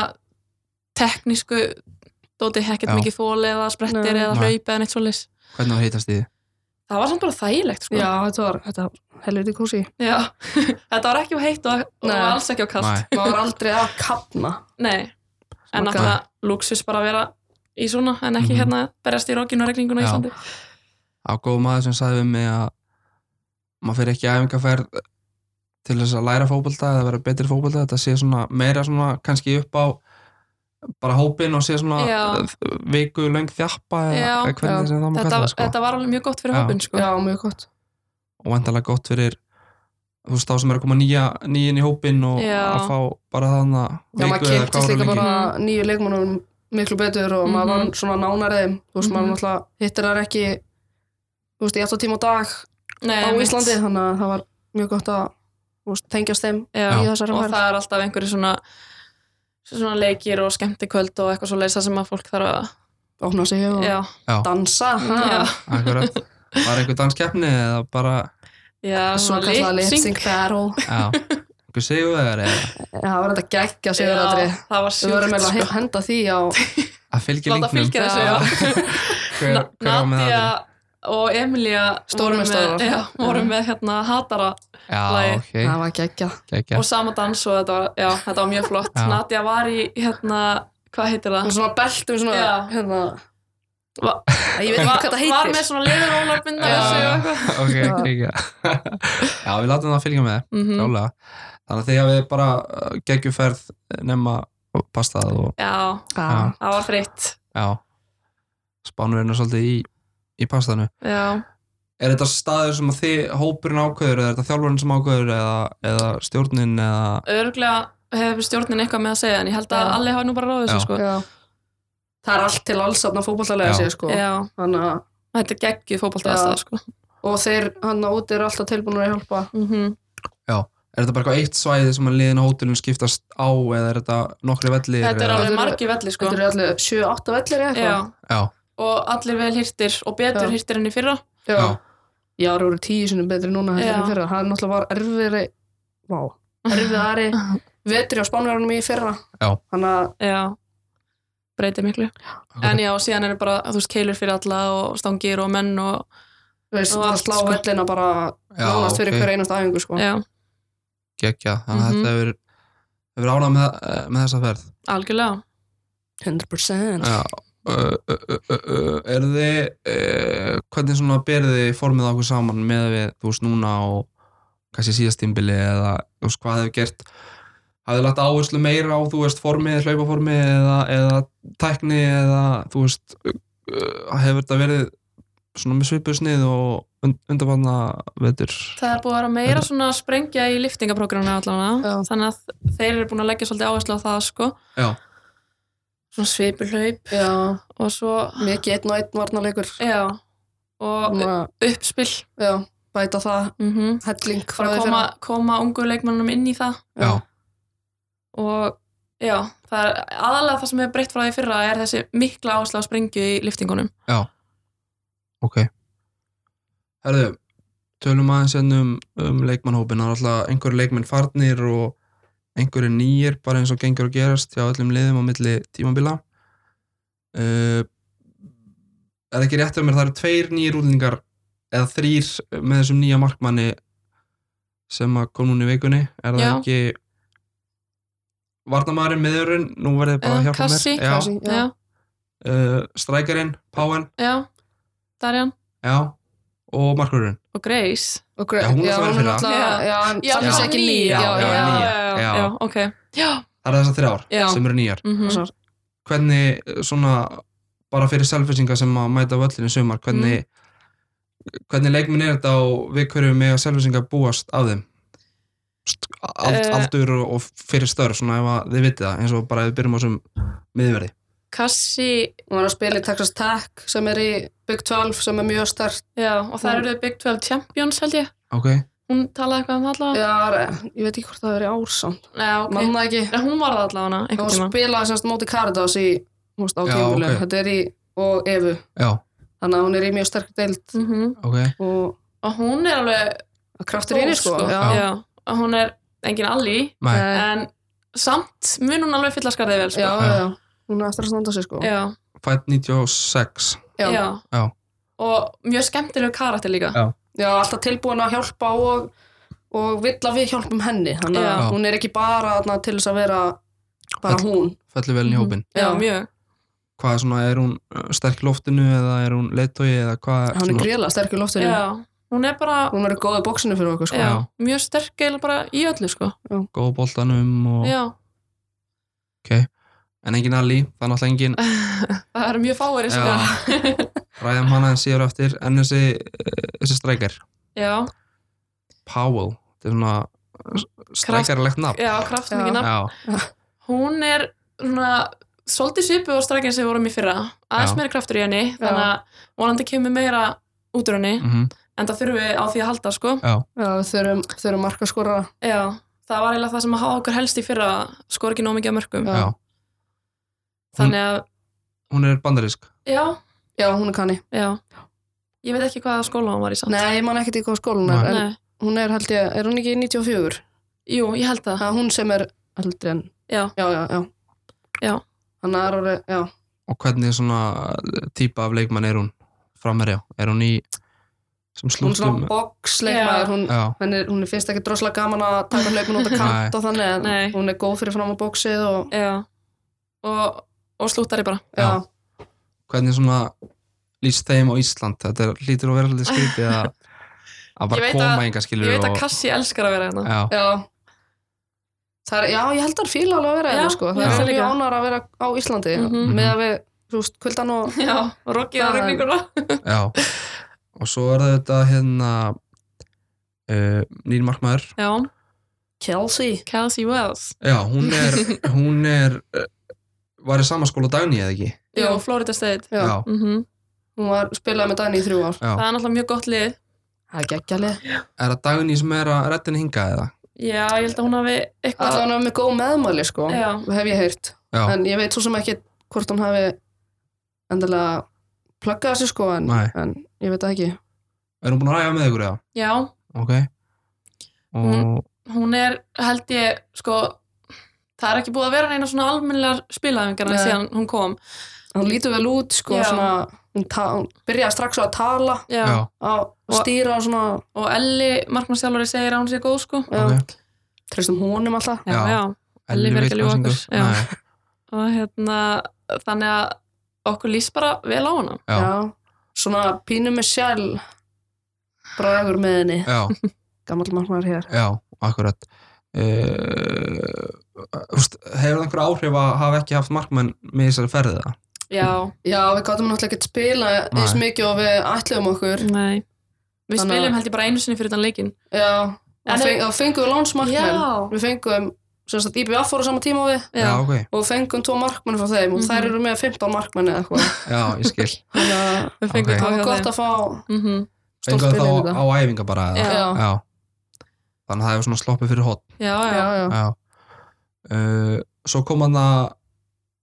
B: teknísku dóti, ekkert
A: Já.
B: mikið þóli eða sprettir
C: Nei.
B: eða
A: Nei.
B: hlaup eða neitt svolis
A: hvernig það heitast þið
B: það var samt bara þægilegt, sko
C: Já, þetta var, þetta var helviti kósi.
B: Já. þetta var ekki á heitt og, og
C: Nei.
B: alls ekki á kalt,
C: Maður var aldrei að kapna.
B: nei, en
C: Smakka.
B: náttúrulega luxus bara að vera í svona en ekki
A: Mhm.
B: hérna berjast í rókinu og regninguna í
A: Já.
B: Íslandi
A: á góð maður sem sagði við mig að maður fyrir ekki í æfingarferð til þess að læra fótbolta eða vera betri í fótbolta, þetta sé svona meira svona kannski upp á bara hópin og sé svona
B: Já.
A: viku löng þjappa eða
B: Já,
A: eða hvernig
C: já.
A: sem það má
B: þetta,
A: kalla það sko.
B: þetta var alveg mjög gott fyrir
A: Já.
B: hópin sko.
C: já, mjög gott
A: og vandalega gott fyrir þú veist þá sem er að koma nýja, nýjinn í hópin og
B: Já.
A: að fá bara þarna
C: Já, maður kynntist líka
A: lengi.
C: bara nýju leikmannum miklu betur og maður
B: Mhm.
C: var svona nánarðið, þú veist, maður
B: Mhm.
C: náttúrulega hittir þar ekki, þú veist, í 8 tíma á dag
B: Nei,
C: á
B: einmitt.
C: Íslandi, þannig að það var mjög gott að, þú veist, tengjast þeim
B: Já.
C: í þessari
B: og
C: færð.
B: það er alltaf einhverju svona svona leikir og skemmtikvöld og eitthvað svo leysa sem að fólk þarf að
C: Opna sig og
B: já,
C: dansa,
B: já,
C: ha?
A: Akkurat. Var einhver danskeppni eða bara
B: já
C: svo
B: svona
C: kallar
B: lip sync.
C: lip-sync battle.
A: já, einhver sigurvegari eða
C: Já, það var þetta geggja
B: Já,
C: sigurðatri.
B: það var
C: Við vorum
B: sjúkt
C: eiginlega
B: sko.
C: að henda því á,
A: að fylgja
B: láta
A: linknum
B: fylgja þessu já.
A: hver,
B: Na-
A: hver á með
B: Nadia
A: það
B: og Emilia voru
C: Stórmeistarar.
B: með, já, voru með hérna hatara
A: já,
B: lagið.
A: ok,
C: það var geggja.
A: ekki
B: og sama dans og þetta var, já, þetta var mjög flott
A: Já.
B: Nadia var í hérna hvað heitir
C: Og
B: það?
C: svona beltum svona,
B: Já.
C: hérna,
B: Va-
C: ég veit ekki hvað það heitir.
B: var með svona liðurólarbinda
C: Já.
B: þessu og eitthvað
A: ok, ekki já, við látum það fylgja með
B: Mhm.
A: klálega, þannig að því að við bara uh, geggjuferð eh, nema pastað og
B: já,
C: Já.
B: það var fritt
A: já spánverðinu svolítið í, í pastaðinu
B: já,
A: er þetta staður sem að þið hópurinn ákveður eða er þetta þjálfurinn sem ákveður eða, eða stjórnin eða
B: örgulega hefur stjórnin eitthvað með að segja en ég held að
C: Já.
B: allir hafi nú bara ráðið
A: Já.
B: þessu sko.
C: Já. Það er allt til alls að fótballtalega
A: Já.
C: sér, sko.
B: já,
C: Þannig að
B: þetta er geggjuð fótbolta
C: Já.
B: aðstæða sko.
C: og þeir hann á úti eru alltaf tilbúinur að hjálpa
B: mm
A: er þetta bara eitthvað eitt svæði sem að liðin á hótelin skiptast á eða er þetta nokkri vellir
B: þetta er
A: eða-
B: alveg
C: Þetta eru-
B: margi velli sko.
C: þetta eru allir 7-8 vellir eða
B: já,
C: eitthvað
A: já,
B: og allir vel hirtir og betur
C: Já.
B: hirtir enn í fyrra
C: já,
A: já,
C: já það eru tíu sinni betri núna heldur
B: Já.
C: en í fyrra það er náttúrulega var erfiðri vá, erfiðari vetri á spánverðunum í fyrra
A: Já.
C: þannig að
B: já, breytir miklu en já, og síðan eru bara, þú veist, keilur fyrir alla og stangir og menn og
C: þú veist,
B: Og
C: það
B: allt,
C: slá
B: sko.
C: vellina bara nánast fyrir
A: ok.
C: hverja einast æfingu sko.
B: já,
A: geggja, þannig að
B: Mhm.
A: þetta hefur hefur ánað með, eh, með þessa ferð
B: algjörlega
C: 100%
A: já Uh, uh, uh, uh, uh, er þið uh, hvernig svona berði formið okkur saman með við, þú veist, núna og kannski síðast tímbili eða þú veist, hvað hefur gert hafið lagt áherslu meira á, þú veist, formið hlaupaformið eða, eða tækni eða, þú veist uh, uh, hefur þetta verið svona með svipuð snið og und, undarbarna vetur
B: það er búið að vera meira svona að sprengja í liftingaprógraminu allavega,
C: Já.
B: þannig að þeir eru búin að leggja svolítið áherslu á það sko
A: Já.
B: svona svipulaup
C: já,
B: og svo,
C: mikið einn og einn varnarleikur
B: já og
C: Svona,
B: uppspill
C: já, bæta það
B: mm
C: helling frá
B: bara
C: því
B: koma,
C: fyrra
B: koma ungu leikmannum inn í það
A: já,
B: og já, það er aðalega það sem hefur breytt frá því í fyrra er þessi mikla áherslu á sprengju í liftingunum
A: ok herðu, tölum aðeins hérna um, um leikmannhópin, það er alltaf einhverju leikmenn farnir og einhverju nýjir bara eins og gengur og gerast hjá öllum liðum á milli tímabila uh, er það ekki rétt um mér, það eru tveir nýjir útlendingar eða þrýr með þessum nýja markmanni sem að kom núna í vikunni er það
B: Já.
A: ekki varnamærin, miðurinn, nú verðið bara að
B: Eh,
A: hjálpa
B: Kassi.
A: mér
C: Kassi. Já.
B: já,
A: Já, uh, strækarinn, Páen
B: já, Darjan
A: já, og markurinn
B: og Grace
C: og Greg,
A: Já, hún var náttúrulega
C: hún er
A: fyrra.
C: náttúrulega- já, en
B: Já,
C: samt
A: hún
C: sé
A: var
C: ekki
B: ný,
C: ný já,
A: já,
C: já.
A: ný.
B: já, já,
A: já.
B: já, ok já,
A: það er þessar þrjár
B: Já.
A: sem eru nýjar
B: mhm
C: Þessar-
A: hvernig eh, svona bara fyrir selfisinga sem að mæta völlinu sumar hvernig, hvernig leikminn er þetta og við hverju með að selfisinga búast af þeim St- Ald,
B: Eh.
A: aldur og- og fyrir störf svona ef að þið vitið það eins og bara ef við byrjum á þessum miðverði
B: Kassi,
C: Hún var að spila í Texas Tech sem er í Big 12 sem er mjög stert.
B: já, og það
C: Hún-
B: eru Big 12 Champions held ég,
A: ok,
B: hún talaði eitthvað um það allavega
C: Já, ég veit ekki hvort það verið ársamt.
B: Já, ok,
C: Okay. Manna ekki.
B: En hún var það allavega hana,
C: Hún
B: einhvern tíma
C: spilaði semst móti Caritas í, hún veist, á
A: Já,
C: tímuleg.
A: ok.
C: Þetta er í, og Evu.
A: já,
C: Þannig að hún er í mjög sterk deild
B: mm
A: ok
C: og
B: Og hún er alveg
C: kraftur í henni,
B: góð,
C: sko.
B: Já.
C: Já.
B: Og hún er engin alli
A: Nei.
B: En samt mun hún alveg fylla skarðið vel
C: Já,
B: sko.
C: já, já. Hún er eftir að standa sig, sko.
B: Já,
A: fætt 96
B: já.
C: Já.
A: Já.
B: Og mjög skemmtilegu karakter líka
A: Já.
C: Já, alltaf tilbúin að hjálpa og, og vill að við hjálpum henni. Þannig að
B: Já.
C: hún er ekki bara þarna, til þess að vera bara
A: Öll-
C: hún.
A: fellur vel inn í
B: Mhm.
A: hópin
B: Já,
C: Já.
B: mjög
A: hvað svona, er hún uh, sterk í loftinu eða er hún leittói eða hvað
C: hann er greiðlega sterkur loftunni
B: Já, hún er bara
C: hún verður góð í bóksinu fyrir okkur sko.
B: já,
A: Já.
B: mjög sterk eða bara í öllu sko.
A: góð á boltanum og,
B: Já,
A: en engin Ali, það er náttúrulega engin
B: það eru mjög fáir eins og það.
A: Já. ræðum hana en síður eftir en þessi, eh, þessi streikar
B: Já,
A: Powell, þetta er svona streikarlegt nafn
B: já, kraftmikið
C: Já.
B: nafn.
A: Já,
B: Hún er svona svolítið svipu á strækinn sem við vorum í fyrra. Aðeins
A: Já.
B: meira kraftur í henni, þannig að vonandi kemur meira út úr henni,
A: mhm,
B: en það þurfum við á því að halda sko.
C: Já, við þurfum, þurfum markaskora
B: Já, það var eiginlega það sem að hafa okkur helst í fyrra skor ekki nóg mikið að mörgum
C: Já.
A: já.
B: þannig að,
A: hún er bandarísk
B: já,
C: já, hún er kanni
B: já ég veit ekki hvaða skóla hún var í samt
C: nei, ég man ekkert í hvað skólan er en
B: Nei.
C: hún er held ég, er hún ekki 94?
B: Jú, ég held það
C: það er hún sem er eldri en
B: Já,
C: já, já, já,
B: Já.
C: hann er orðið, já,
A: og hvernig svona eh, típa af leikmann er hún framherja, er hún í sem
C: hún er
A: slúttum
C: svona boksleikmaður hún,
A: Já,
C: hún, er- hún er fyrst ekki droslega gaman að taka hlaupin út að
A: Nei.
C: kant og þannig en
B: Nei.
C: hún er góð fyrir fram á bóksið og
B: já og, og slúttari bara
A: Já.
C: já,
A: hvernig svona lýst þeim á Ísland þetta er, hlýtur að vera haldið skrítið að að
B: Ég
A: bara
B: veit
A: koma
B: að-
A: enga skilur
B: Ég veit að
A: og,
B: Kassi elskar að vera hérna
A: já,
C: já. Það Er, já, ég held að það er fíla alveg að vera
B: Já,
C: hérna sko.
B: já.
C: það
B: Já.
C: er mjög ánar að vera á Íslandi mm
B: Mhm.
C: með að við, þú veist, kvöldan og
B: Já, og roggið á
C: Það-
B: regninguna
A: já og svo er það þetta hérna uh, nýr markmaður
B: Já,
C: Kelsey
B: Cassie Wells
A: já, hún er, hún er uh, var í sama skóla dagni eða ekki
B: Jú,
C: Já.
B: Florida State
C: já.
A: já,
B: mm
C: hún var spilaði með Dani í þrjú ár
A: já.
B: Það er náttúrulega mjög gott lið
C: það er geggjalið,
A: er það dagni sem er að rettin hinga eða
B: Já, ég held að hún hafi eitthvað
C: allan var með góð meðmæli sko,
B: Já,
C: hef ég heyrt
A: já,
C: en ég veit svo sem ekki hvort hún hafi endilega pluggað þessu sko en,
A: Nei.
C: en ég veit það ekki
A: er hún búin að ræða með ykkur eða
B: já,
A: ok og
B: Hún- hún er held ég sko það er ekki búið að vera neina svona almennilegar spilaðingar
C: Nei.
B: síðan hún kom
C: hún lítur vel út sko
B: Já.
C: svona, hún, ta- hún byrjaði strax á að tala
B: já.
A: já,
C: á að stýra og svona
B: og Elli markmannsjálfari segir að hún sé góð sko
C: já,
A: ok
C: treystum honum alltaf
B: já,
A: Já.
B: já.
A: Elli
B: Elli fer
A: veit
B: ekki að ljúga
A: hvað sem gerist.
B: okkur. Já.
A: Nei,
B: og hérna þannig að okkur lýst bara vel á hana
A: Já.
C: svona pínu með sjæl bragur með henni
A: já,
C: gammal margmar hér
A: Já, akkurat uh, úst, Hefur það einhver áhrif að hafa ekki haft markmenn með þessari ferðið það?
B: já,
C: já við gáttum náttúrulega ekki spila
A: Nei.
C: eins mikið og við ætluðum okkur
B: nei við
C: Þannig að-
B: spilum held ég bara einu sinni fyrir þann leikin
C: já
B: En-
C: og feng, og fengum við lánsmarkmenn við fengum sem sagt IBF fóru saman tíma og við
B: já, já.
A: ok,
C: og fengum tvo markmenn frá þeim og
B: Mhm.
C: þær eru með 15 markmenn eða eitthvað
A: já, ég skil
C: þannig að
B: við fengum
A: Ok.
B: okay.
C: það
B: það
C: var gott að fá
B: mm -hmm.
C: stórt
A: Fengu
C: spil inn í
A: það
C: þetta.
A: þá á æfinga bara eða?
B: Já.
C: Já.
A: Já. Þannig að það hefur svona sloppið fyrir hot
B: já, já,
C: já, já.
A: Já uh, Svo kom hann að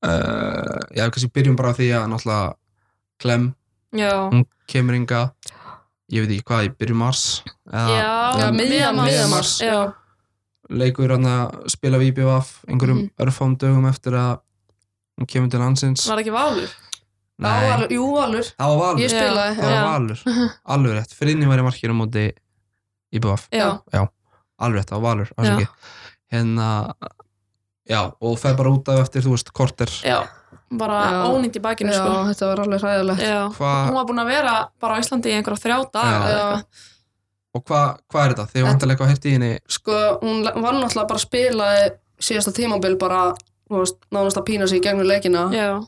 A: uh, Já, kannski byrjum bara á því að náttúrulega Clem,
B: já.
A: hún kemur inga Ég veit ekki hvað, í byrjum mars eða
C: Já, miðjan-
B: mars.
A: miðjan mars.
B: Já.
A: leikur hann að spila við IBF einhverjum
C: Mhm.
A: örfám dögum eftir að hún kemur til landsins
B: var það ekki valur
C: Já, alveg- Jú, alveg
A: Það var
C: Ég
A: Valur,
C: spilaði
A: það var
B: Já.
A: Valur Alveg rétt, Frinni var í markinu á móti IBF,
B: já,
A: alveg rétt, það var Valur afsakið. Hérna Já, og fer bara út af eftir, þú veist, korter
B: já. bara
C: Já.
B: ónýtt í bakinu
C: Já,
B: sko
C: þetta var alveg ræðilegt
B: já. hún
A: Hva,
B: var búin að vera bara á Íslandi í einhverja þrjá
A: Já.
B: daga eða eitthvað.
A: Og hvað hva er þetta? Þið
C: Þetta-
A: vantarlega eitthvað hægt í henni
C: Sko, hún le- var náttúrulega bara að spila síðasta tímabil bara þú veist, nánast að pína sig í gegnum leikina
B: Já.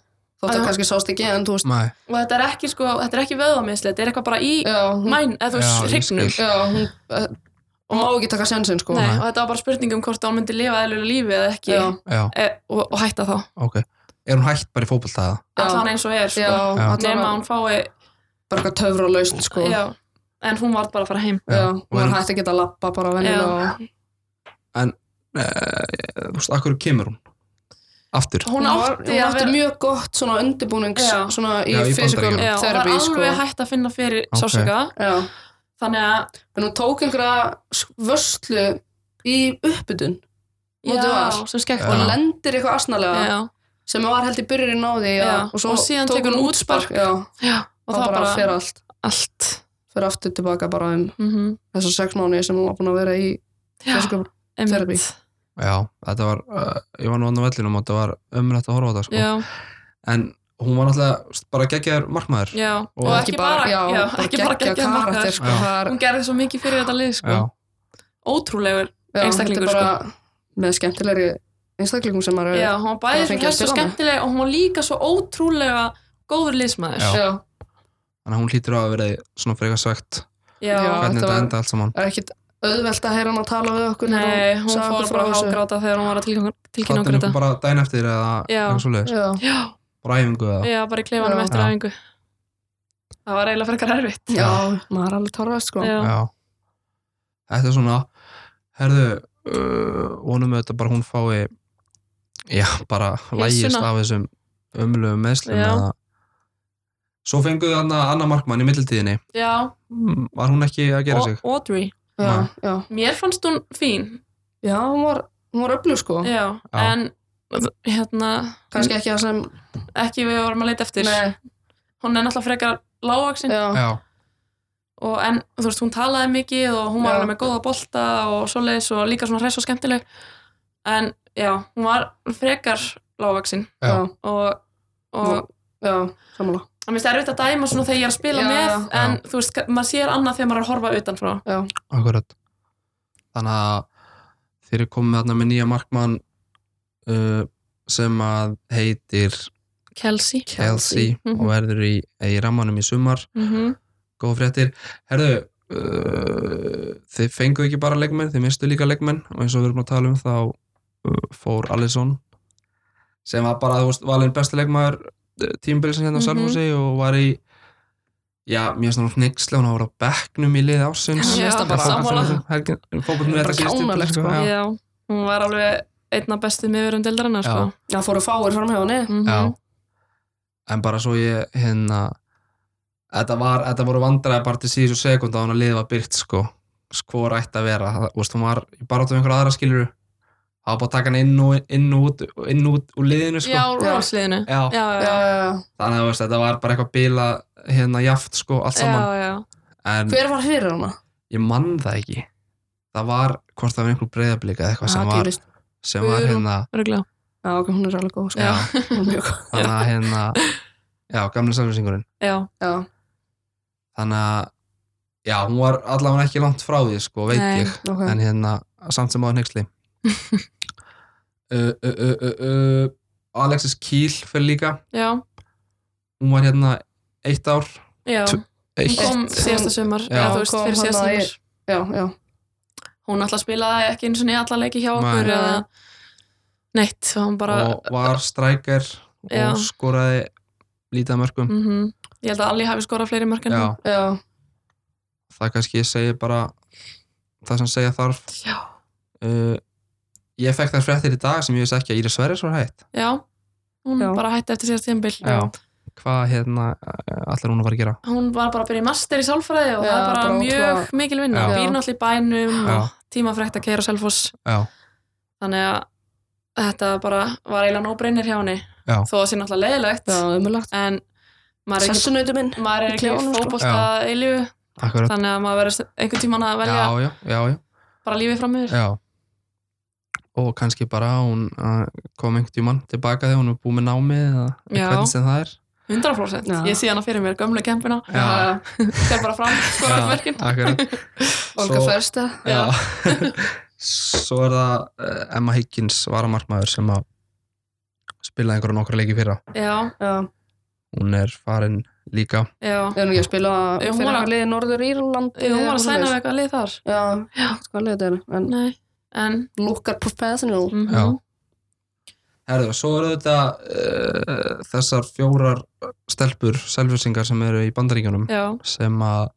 C: þótt
B: Já.
C: að kannski sást ekki en þú veist
A: Mæ,
B: og þetta er ekki sko, þetta er ekki vöðvamisli þetta er eitthvað bara í
C: já, hún,
B: mæn, eða þú
A: Já,
B: veist,
A: ég
B: hrygnum
A: skil. sko.
C: já, hún eh, hún má ekki taka sensin sko
B: Nei,
A: Nei.
B: og þetta var bara spurning um hvort hún myndi lifa eðlulega lífi eða ekki
C: Já,
A: já,
B: e, og, og hætta þá,
A: ok Er hún hægt bara í fótboltaða?
C: Já.
B: allan eins og er
C: já,
B: sko. nema
C: allavega
B: að hún fái
C: bara eitthvað töfra lausn sko
B: já, en hún var bara að fara heim
C: Já, hún
A: og
C: var
A: erum-
C: hægt að geta að lappa bara venjulega og
A: Þú veist, akkur kemur hún? Aftur?
B: hún
C: var-
B: átti
C: hún
B: að
C: átti
B: vera
C: mjög gott svona undirbúnings
B: Já.
C: svona í
A: Já, í
C: physical
A: Bandaríkjunum.
B: já, hún var
C: therapy sko
B: alveg hætt að finna fyrir
A: Ok.
B: okay. sásöka
C: já.
B: þannig að,
C: en hún tók einhverja s- vörslu í uppbytun Móti
B: já,
C: var.
B: sem skekkt
A: Já.
C: og
B: hana
C: lendir eitthvað asnalega
B: já,
C: sem var held í byrjurinn á því
B: Já,
C: og, svo
B: og síðan
C: tók
B: tekur hún
C: hún
B: útspark.
C: útspark já,
B: já,
C: og
B: og það
C: bara,
B: var bara
C: fer allt
B: allt
C: fer aftur tilbaka bara um
B: mm
C: þessar sex mánu sem hún var búin að vera í fysical- sko Therapy.
B: einmitt
A: Já, þetta var, uh, ég var nú andan vellinum og þetta var umrætt að horfa á þetta sko.
B: já,
A: En hún var náttúrulega bara geggjaður markmaður
B: já, og,
A: Og-
B: ekki bara,
C: já,
B: já, ekki bara
C: geggja
B: geggjað
C: karakter
B: markaður
C: sko,
A: Já.
C: það er-
B: hún gerði svo mikið fyrir þetta lið sko.
A: já,
B: ótrúlegur,
C: já,
B: einstaklingur, sko.
C: þetta er bara með skemmtilegri einstaklingum sem maður
B: já, hún var
C: Það
B: bæði
C: fengi
B: svo,
C: að
B: svo
C: spila hana.
B: skemmtileg og hún var líka svo ótrúlega góður liðsmaður
A: Já.
C: já,
A: þannig að hún hlýtur á að vera svona frekar svegt
B: Já.
C: Já.
A: hvernig
C: þetta
A: þetta
C: var-
A: enda allt saman
C: það er ekkit auðvelt að heyra hann að tala við okkur þegar
B: Nei, hún
C: sagði
B: fór
C: okkur frá
B: bara að
C: þessu.
B: hágráta þegar hún var að tilkynna- tilkynna okkur
A: þáttunum
B: um þetta.
A: bara dæn eftir eða
B: Já.
A: eitthvað svoleiðis,
C: já,
B: Já,
A: bara æfingu eða
B: já, bara í klefanum
C: Já.
B: eftir
A: Já.
B: æfingu. Það var eiginlega frekar erfitt.
C: já, maður er alveg torfast sko
B: Já.
A: Já. Þetta er svona herðu, uh, vonum við þetta bara hún fái já, bara lægist af þessum umlöfum meðslum
B: Já.
A: eða Svo fenguðu hann að annar markmann í mittiltíðinni.
B: Já,
A: Var hún ekki að gera
B: og
A: sig?
B: Audrey.
C: já,
A: Nei.
C: já,
B: Mér fannst hún fín,
C: já, hún var hún var öflug sko,
B: já,
A: Já.
B: en hérna,
C: kannski ekki það sem
B: ekki við vorum að leita eftir.
C: Nei,
B: Hún er náttúrulega frekar lágvaksinn,
C: já,
A: Já,
B: og en þú veist, hún talaði mikið og hún var
C: Já.
B: alveg með góða bolta og svoleiðis og líka svona hress og skemmtileg. En já, hún var frekar lágvaksinn
A: Já.
C: já,
B: og, og
C: Nú, já, sammála
B: Það minnst erfitt að dæma svona þegar ég er að spila
C: Já,
B: með
C: já.
B: en þú veist, ka- maður sér annað þegar maður er að horfa utanfrá
A: akkurat. Þannig að þeir eru komið þarna með nýja markmann uh, sem að heitir
B: Kelsey
A: Kelsey
B: Mhm.
A: og verður í, í rammanum í sumar.
B: mm
A: Góða fréttir. Herðu, uh, þið fenguðu ekki bara leikmenn, þið mistu líka leikmenn og eins og við erum að tala um þá uh, fór Alisson sem var bara, þú veist, valinn besti leikmaður tímbilsin hérna á
B: Mhm.
A: Salfúsi og var í já, mér er svona hnyggslega, hún var á bekknum í liði ásins
B: Já,
C: Mér finnst það bara- sammála.
A: Fókbóltum
C: Bara
A: er þetta
C: kjánalegt, sko.
A: Já,
B: Já, hún var alveg einna bestu miðurum deildarinnar
A: Já.
B: sko.
C: Já, fóru fáir fram hjá henni
B: mm
A: já. En bara svo ég hérna Þetta, var, þetta voru vandræði bara til síðustu sekund á hún að liðið var byrt sko skvor ætti að vera, Það- þú veist, hún var í baráttu um einhverja aðra skiluru það var bara að taka hann inn og, inn og út inn og út úr liðinu sko
B: Já, rólsliðinu
A: Já.
B: Já,
C: Já,
B: já,
C: já, já.
A: þannig að þú veist, þetta var bara eitthvað bíla hérna jaft sko, allt
B: já,
A: saman
B: já.
A: en
C: Hver var fyrir hana?
A: ég mann það ekki það var, hvort það var einhver breyðablika eða eitthvað sem
C: Ah,
A: var,
C: dýrist.
A: sem var
B: Guðrún.
A: hérna
B: Örgulega
C: Já, ok, hún er alveg góð sko.
A: já,
C: Hún er mjög góð.
A: þannig að hérna já, gamli samfélsingurinn
B: Já,
C: Já,
A: þannig að já, hún var allavega ekki langt frá því sko, veit
B: Nei.
A: ég
C: ok
A: en hérna, samt sem áður nexli uh, uh, uh, uh, uh, Alexis Kiel fyrir líka,
B: já,
A: hún var hérna eitt ár
B: já
A: Tv-
B: Hún
A: eitt,
B: kom síðasta sumar
A: Já.
B: Já, þú veist,
C: Kom
B: fyrir síðasta
C: þarna í-
B: sumar
C: Já, já,
B: Hún alltaf spilaði ekki eins og niður alla leiki hjá okkur
A: Nei.
B: eða neitt, það var bara
A: og var strækjar
B: Já.
A: og skoraði lítið af mörgum
B: mm Ég held að Alli hafi skorað fleiri mörg en
A: já,
B: hún
C: já,
A: það kannski segir bara það sem segja þarf
B: Já,
A: uh, ég fekk þar fréttir í dag sem ég vissi ekki að Íris Sverris var hægt
B: já Hún
C: Já.
B: bara hætti eftir síðast tíðanbill
A: hvað hérna eh, allar hún að fara að gera
B: hún var bara að byrja í master í sálfræði og
C: Já,
B: það er bara,
C: bara
B: mjög
C: ótrúlega-
B: mikil vinna
C: Já.
B: býr náttúrulega í bænum
A: Já.
B: og tímafrækt að keira selfoss
A: já,
B: þannig að þetta bara var eiginlega nóbreynir hjá henni
A: Já.
B: þó að sé náttúrulega leiðilegt
C: já, umulagt
B: en maður er ekki,
C: Sessunautu minn
B: maður
C: í
B: er ekki
C: klefanum, sko.
B: fótbolta eilífu
A: akkurat
B: þannig að maður verður einhvern tíman að velja
A: já, já, já, já,
B: bara lífið fram yfir
A: já og kannski bara hún eh, kom einhvern tímann tilbaka þegar hún er búið með námið eða
B: Já.
A: hvernig sem það er
B: 100%
C: Já.
B: ég sé hana fyrir mér gömlu kempina
A: Já.
B: fer bara fram skorar
A: Já,
B: mörkin
A: akkurat
C: Olga
A: Svo-
C: Fersta
A: já.
B: Já.
A: svo er það eh, Emma Higgins varamarkmaður sem að spilaði einhverja nokkra leiki fyrra
B: já,
C: Já,
A: hún er farin líka
B: já
C: er hún ekki að spila
B: Jú, hún
C: fyrir
B: var að-
C: að liði Norður Írland
B: Jú, hún var að sæna við eitthvað lið þar
C: Já,
B: Já.
C: hvað liði þetta er En
B: nei, en
C: look at professional
B: mm
A: Já. Herðu, svo eru þetta uh, þessar fjórar stelpur, selvisingar sem eru í bandaríkjunum
B: já,
A: sem að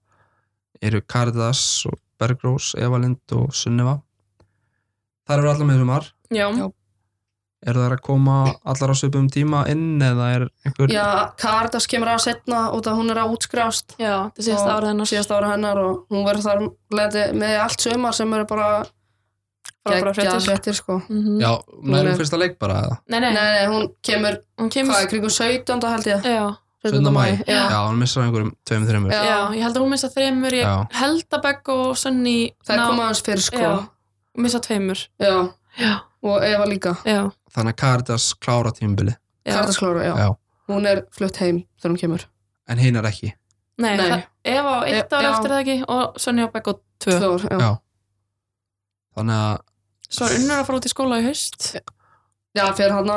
A: eru Caritas og Bergrós, Evalind og Sunneva. Þar eru allar með sumar.
B: já,
C: Já.
A: Eru þær að koma allar á svipum tíma inn eða er einhver...
C: Já, Kardas kemur að setna út að hún er að útskrifast
B: já þetta síðasta
C: Og
B: árið hennar
C: síðast ára hennar og hún verður þar leiði, með allt sömar sem eru bara
B: Frábærar
C: geggjað
B: fréttir.
C: fréttir sko.
B: Mhm.
A: Já,
C: Hún
A: nærum
C: er-
A: um fyrsta leik bara eða?
B: Nei, nei,
C: Nei, nei, hún kemur,
B: hún kemur
C: hvað, kringum 17. held ég
B: já,
A: 17. maí.
C: Já,
A: Já, hann missar einhverjum tveim, þreimur.
C: Já.
B: já, ég held að hún missa þreymur ég
A: Já.
B: held að Begg og Sunny
C: það
B: ná-
C: kom aðeins fyrir sko
B: Já.
C: já.
B: missa tveimur já,
C: og Eva líka,
B: já,
A: Þannig að Caritas klára tímbili.
B: já,
C: Kardasklára, já.
A: Já.
C: já hún er flutt heim þegar hún kemur
A: en hinn er ekki
B: Nei,
C: Nei.
B: það- Eva á eitt
C: Já,
B: ár
C: já.
B: eftir það ekki og Sonja og Begg á tvö
C: tvö ár, já.
A: Já. þannig að
B: Svo er unnur að fara út í skóla í haust
C: já, fyrir hana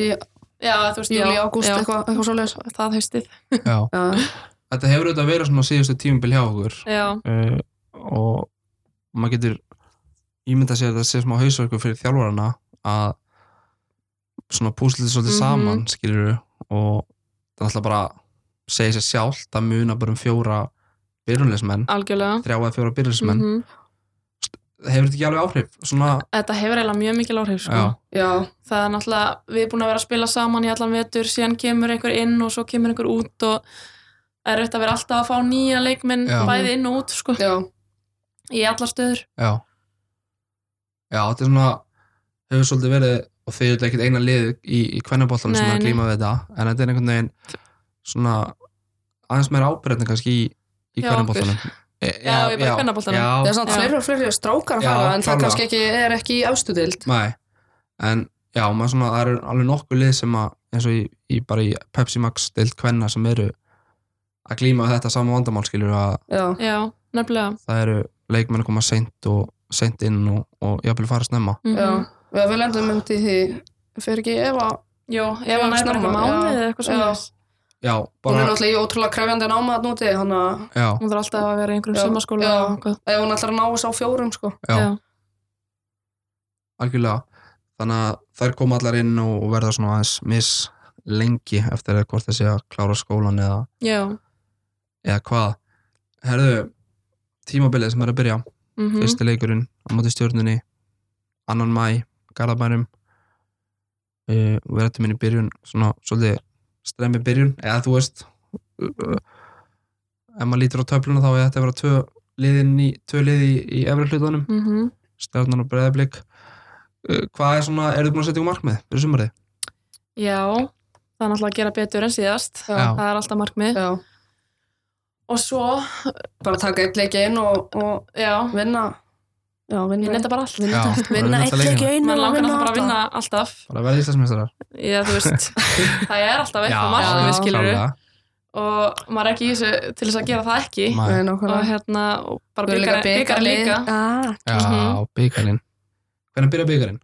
C: í
B: Já, þú veist,
C: júli,
B: já,
C: ágúst,
B: já,
C: eitthvað eitthva svo leis
B: það haustið
A: já.
C: já,
A: þetta hefur auðvitað verið svona síðustu tímubil hjá okkur
B: Já,
A: uh, og maður getur ímyndað sér að þetta sé smá hausverku fyrir þjálfarana að svona púslið svolítið
C: Mhm.
A: saman skilur og það er alltaf bara segja sér sjálft að muna bara um fjóra byrjunleismenn
B: algjörlega
A: þrjá eða fjóra byrjunleismenn
B: Ah. Mhm.
A: hefur þetta ekki alveg áhrif svona,
B: Þetta hefur eiginlega mjög mikil áhrif sko.
A: já,
C: já,
B: Það er náttúrulega, við erum búin að vera að spila saman í allan vetur, síðan kemur einhver inn og svo kemur einhver út og það er auðvitað að vera alltaf að fá nýja leikmenn
A: Já.
B: bæði inn og út sko,
C: já,
B: í allar stöður
A: já já, þetta er svona hefur svolítið verið og þið eru ekkert eina lið í, í kvennabóltanum sem
B: Nei,
A: er að
B: nei.
A: glíma við þetta en þetta er einhvern veginn svona aðeins meira ábyrðin kannski í, í
B: Já,
A: kvennabóltanum já,
B: Já, ég bara í kvennaboltanum.
C: það
A: já,
C: er samt
B: Já.
C: fleiri og fleiri strákar að
A: Já,
C: fara en það
A: klárlega.
C: kannski ekki, er ekki í efstu deild
A: nei en já, maður svona, það eru alveg nokkuð lið sem að, eins og í, í bara í Pepsi Max deilt kvenna sem eru að glíma við þetta sama vandamál skilur að
C: já,
B: Já, nefnilega
A: það eru leikmenn að koma seint og seint inn og, og jafnvel fara snemma
B: mm
C: já, já, við lendum um til því fyrir ekki ef að
B: Jó, ef hann
C: Já,
B: næður
C: snemma,
B: eitthvað mánuð
C: já.
B: eða eitthvað
C: Já.
B: svona
A: já,
C: hún
A: bara,
C: er náttúrulega í ótrúlega krefjandi náma að núti hann að
A: já,
B: Hún þarf alltaf að vera í einhverjum
C: Já,
B: sumaskóla
C: já.
B: og eitthvað.
C: ef hún ætlar að ná þess á fjórum sko
A: já,
B: Já.
A: algjörlega þannig að þær koma allar inn og og verða svona aðeins miss lengi eftir að hvort þessi að klára skólan eða,
B: Já.
A: eða hvað herðu, tímabilið sem er að byrja
B: mhm.
A: fyrsti leikurinn á móti stjórnunni annan mæ, Garðabærum uh, og við rættum inn í byrjun svona svolítið stremmi byrjun eða þú veist uh, ef maður lítur á töfluna þá er þetta að vera tvö liðin í, tvö liði í, í efri hlutunum
B: Mhm.
A: stjarnan og breðablík uh, hvað er svona, eru þið búin að setja ykkur markmið fyrir sumarið?
B: Já, það er náttúrulega að gera betur en síðast
A: Já.
B: Það er alltaf markmið
C: já,
B: Og svo,
C: bara taka eitt leik inn og, og
B: já,
C: vinna já,
B: ég
C: vinna
B: nefnda bara allt
A: Já,
C: vinna eitt leik
A: leikina.
C: inn
B: Man
C: og
B: langar
C: vinna
B: alltaf bara að vinna
C: alla.
B: alltaf
A: bara verði íslensmjöstarar
B: Já, þú veist, það er alltaf eitthvað markmið
C: já,
B: skilur og maður er ekki í þessu til þess að gera það ekki
C: Nei,
A: já,
B: og
C: nákvæmlega.
B: hérna, og bara
C: Við erum líka
B: byggar byggar
C: bikarlið.
B: líka
C: Ah.
A: já byggarinn hvernig byrja byggarinn?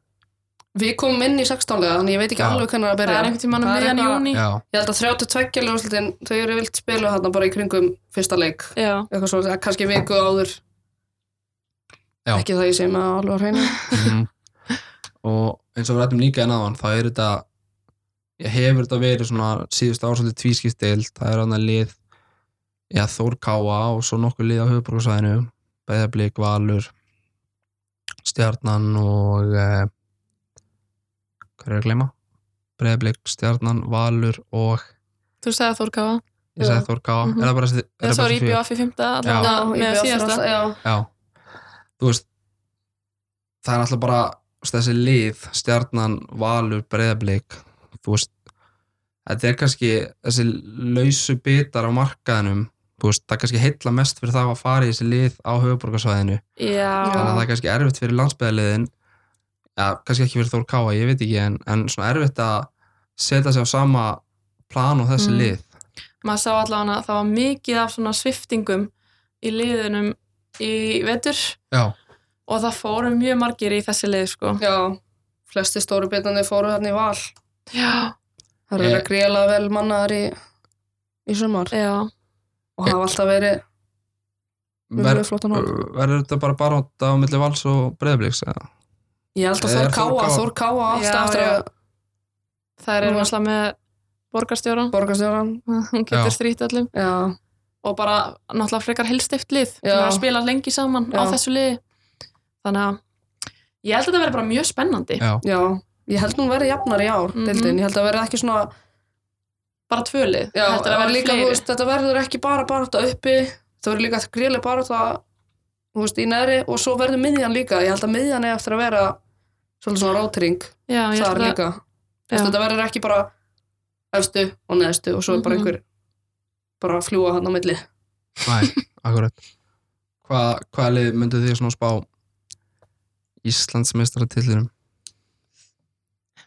C: Við komum inn í 16. lega, þannig ég veit ekki
A: Já.
C: alveg hvernig það
B: Það
C: byrja.
B: er einhvern tímann um
C: Það er
B: miðjan
C: eitthvað-
B: júni
A: já,
C: Ég held að 32 ljóðslutin, þau eru vilt spilu þarna bara í kringum fyrsta leik.
B: Já,
C: Eitthvað svo, kannski viku áður.
A: Já.
C: Ekki það ég sé með alveg að reyna.
A: Mhm. og eins og við rættum líka en aðan þá er þetta ég hefur þetta verið svona síðust ásöldi tvískiptild, það er hann að lið já, Þór Káa og svo nokkuð lið á höfuborgarsvæðinu Beðablík, Valur Stjarnan og eh, hvað er að gleyma? Beðablík, Stjarnan, Valur og
B: þú sagði Þór Káa
A: ég segi Þór Káa,
B: Mhm.
A: er það bara þessi- er
B: Eða
A: það
B: svo
A: bara
B: er
A: þessi fjögur?
B: IBF í fymta
A: Já.
B: með síðasta
C: Já,
A: Já, þú veist það er alltaf bara þú veist, þessi lið, stjarnan, valur, breyðablík þú veist þetta er kannski þessi lausu bitar á markaðinum þú veist, það kannski heilla mest fyrir það að fara í þessi lið á höfuborgarsvæðinu þannig að það
B: Já,
A: er kannski erfitt fyrir landsbyðaliðin ja, kannski ekki fyrir Þór Káa, ég veit ekki en, en svona erfitt að setja sig á sama plan og þessi
B: Mm.
A: lið
B: maður sá allavega að það var mikið af svona sviftingum í liðunum í vetur
A: Já,
B: og það fóru mjög margir í þessi lið sko.
C: já. Flesti stóru bitandi fóru þarna í val.
B: Já,
C: Það eru verið
A: Eh.
C: að gríla vel mannaðar í, í sumar.
B: já,
C: Og hafa alltaf verið
A: Ver,
C: mjög flottan hóp.
A: verður þetta bara bara á milli vals og breyðablíks?
C: Ég held að Þór
A: Er Þór
C: Káa,
A: Káa-
C: Þór Káa
B: Já,
C: alltaf eftir
B: já.
C: að
B: það er
C: Mm.
B: náttúrulega með borgarstjóran,
C: borgarstjóran.
A: Já.
B: hún getur strýtt öllum
C: Já,
B: og bara náttúrulega frekar helstift lið
C: Já.
B: sem er að spila lengi saman á
C: Já.
B: þessu liði þannig að ég held að þetta verði bara mjög spennandi
A: Já,
C: já. Ég held hún verið jafnar í ár,
B: Mhm.
C: deildin. Ég held að verið ekki svona
B: bara tvö lið,
C: Já,
B: þetta verði
C: líka, þú
B: fleiri
C: veist, þetta verður ekki bara barátta uppi, það verður líka gríðlega barátta þú veist, í neðri og svo verður miðjan líka, ég held að miðjan er eftir að vera svolítið svona rótring
B: já, ég
C: þar
B: held að,
C: líka, Þú veist,
B: já,
C: þetta verður ekki bara efstu og neðstu og svo er bara
B: Mhm.
C: einhver bara að fljúa hann á milli
A: Nei, akkurat Hva, Hvaða lið myndu þið svona spá Íslandsmeistara tillinum?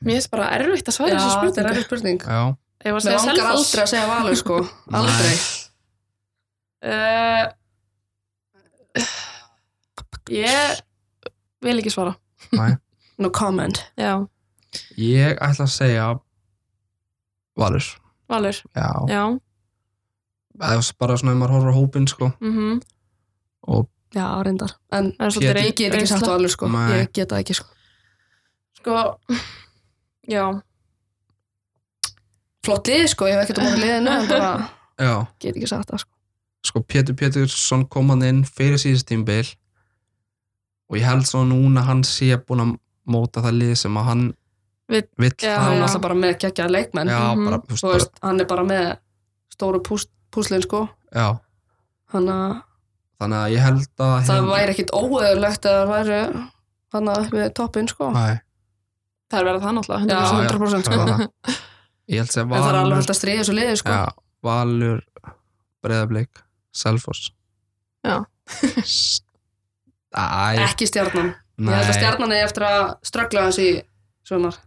B: mér finnst bara erfitt að
C: Já,
B: sværa þessu
C: þetta er
B: spurningu
C: erfið spurning
A: Já,
B: Ég var að
C: Mér
B: segja
C: langar
B: Selfoss.
C: aldrei að segja valur sko Aldrei
B: Uh, ég vil ekki svara.
C: No comment
B: Já,
A: Ég ætla að segja Valur
B: Valur.
A: Já,
B: Já,
A: það er bara svona ef maður horfir á hópinn sko
B: mhm.
A: og
C: Já, reyndar En
B: Það er svolítið
A: Pétur.
B: rey-
C: ég get ekki sagt
B: reynsla.
C: valur sko
A: Nei.
C: Ég get það ekki sko
B: Sko, já,
C: Flott lið sko, ég hef ekkert um að liðinu En bara
A: já,
C: get ekki sagt það sko
A: sko Pétur Pétursson kom hann inn fyrir síðust tímbil og ég held svo núna hann sé búin að móta það lið sem að hann
B: Vill-
A: vill
B: já,
C: Hann
A: hafa.
C: er
B: já.
C: alltaf bara með geggjaða leikmenn
A: já,
B: Mhm.
A: bara, þú veist,
C: Þú
A: bara,
C: veist, hann er bara með stóru pús- púslin sko
A: já,
C: Hann að
A: þannig að ég held að
C: það væri ekkit óeðurlegt að það væri hann að upp við toppin sko
A: Nei,
B: það er verið það náttúrulega,
C: Já,
B: 100%.
C: 100%
A: já, það er það. ég held að segja
C: sko. En það er alveg
A: Valur
C: hægt að stríða þessu liði sko
A: já, Valur Breðablik, Selfoss
B: Já.
A: S- Æ,
C: Ekki stjarnan Ég held að
A: nei,
C: stjarnan er eftir að ströggla þessi í sumar.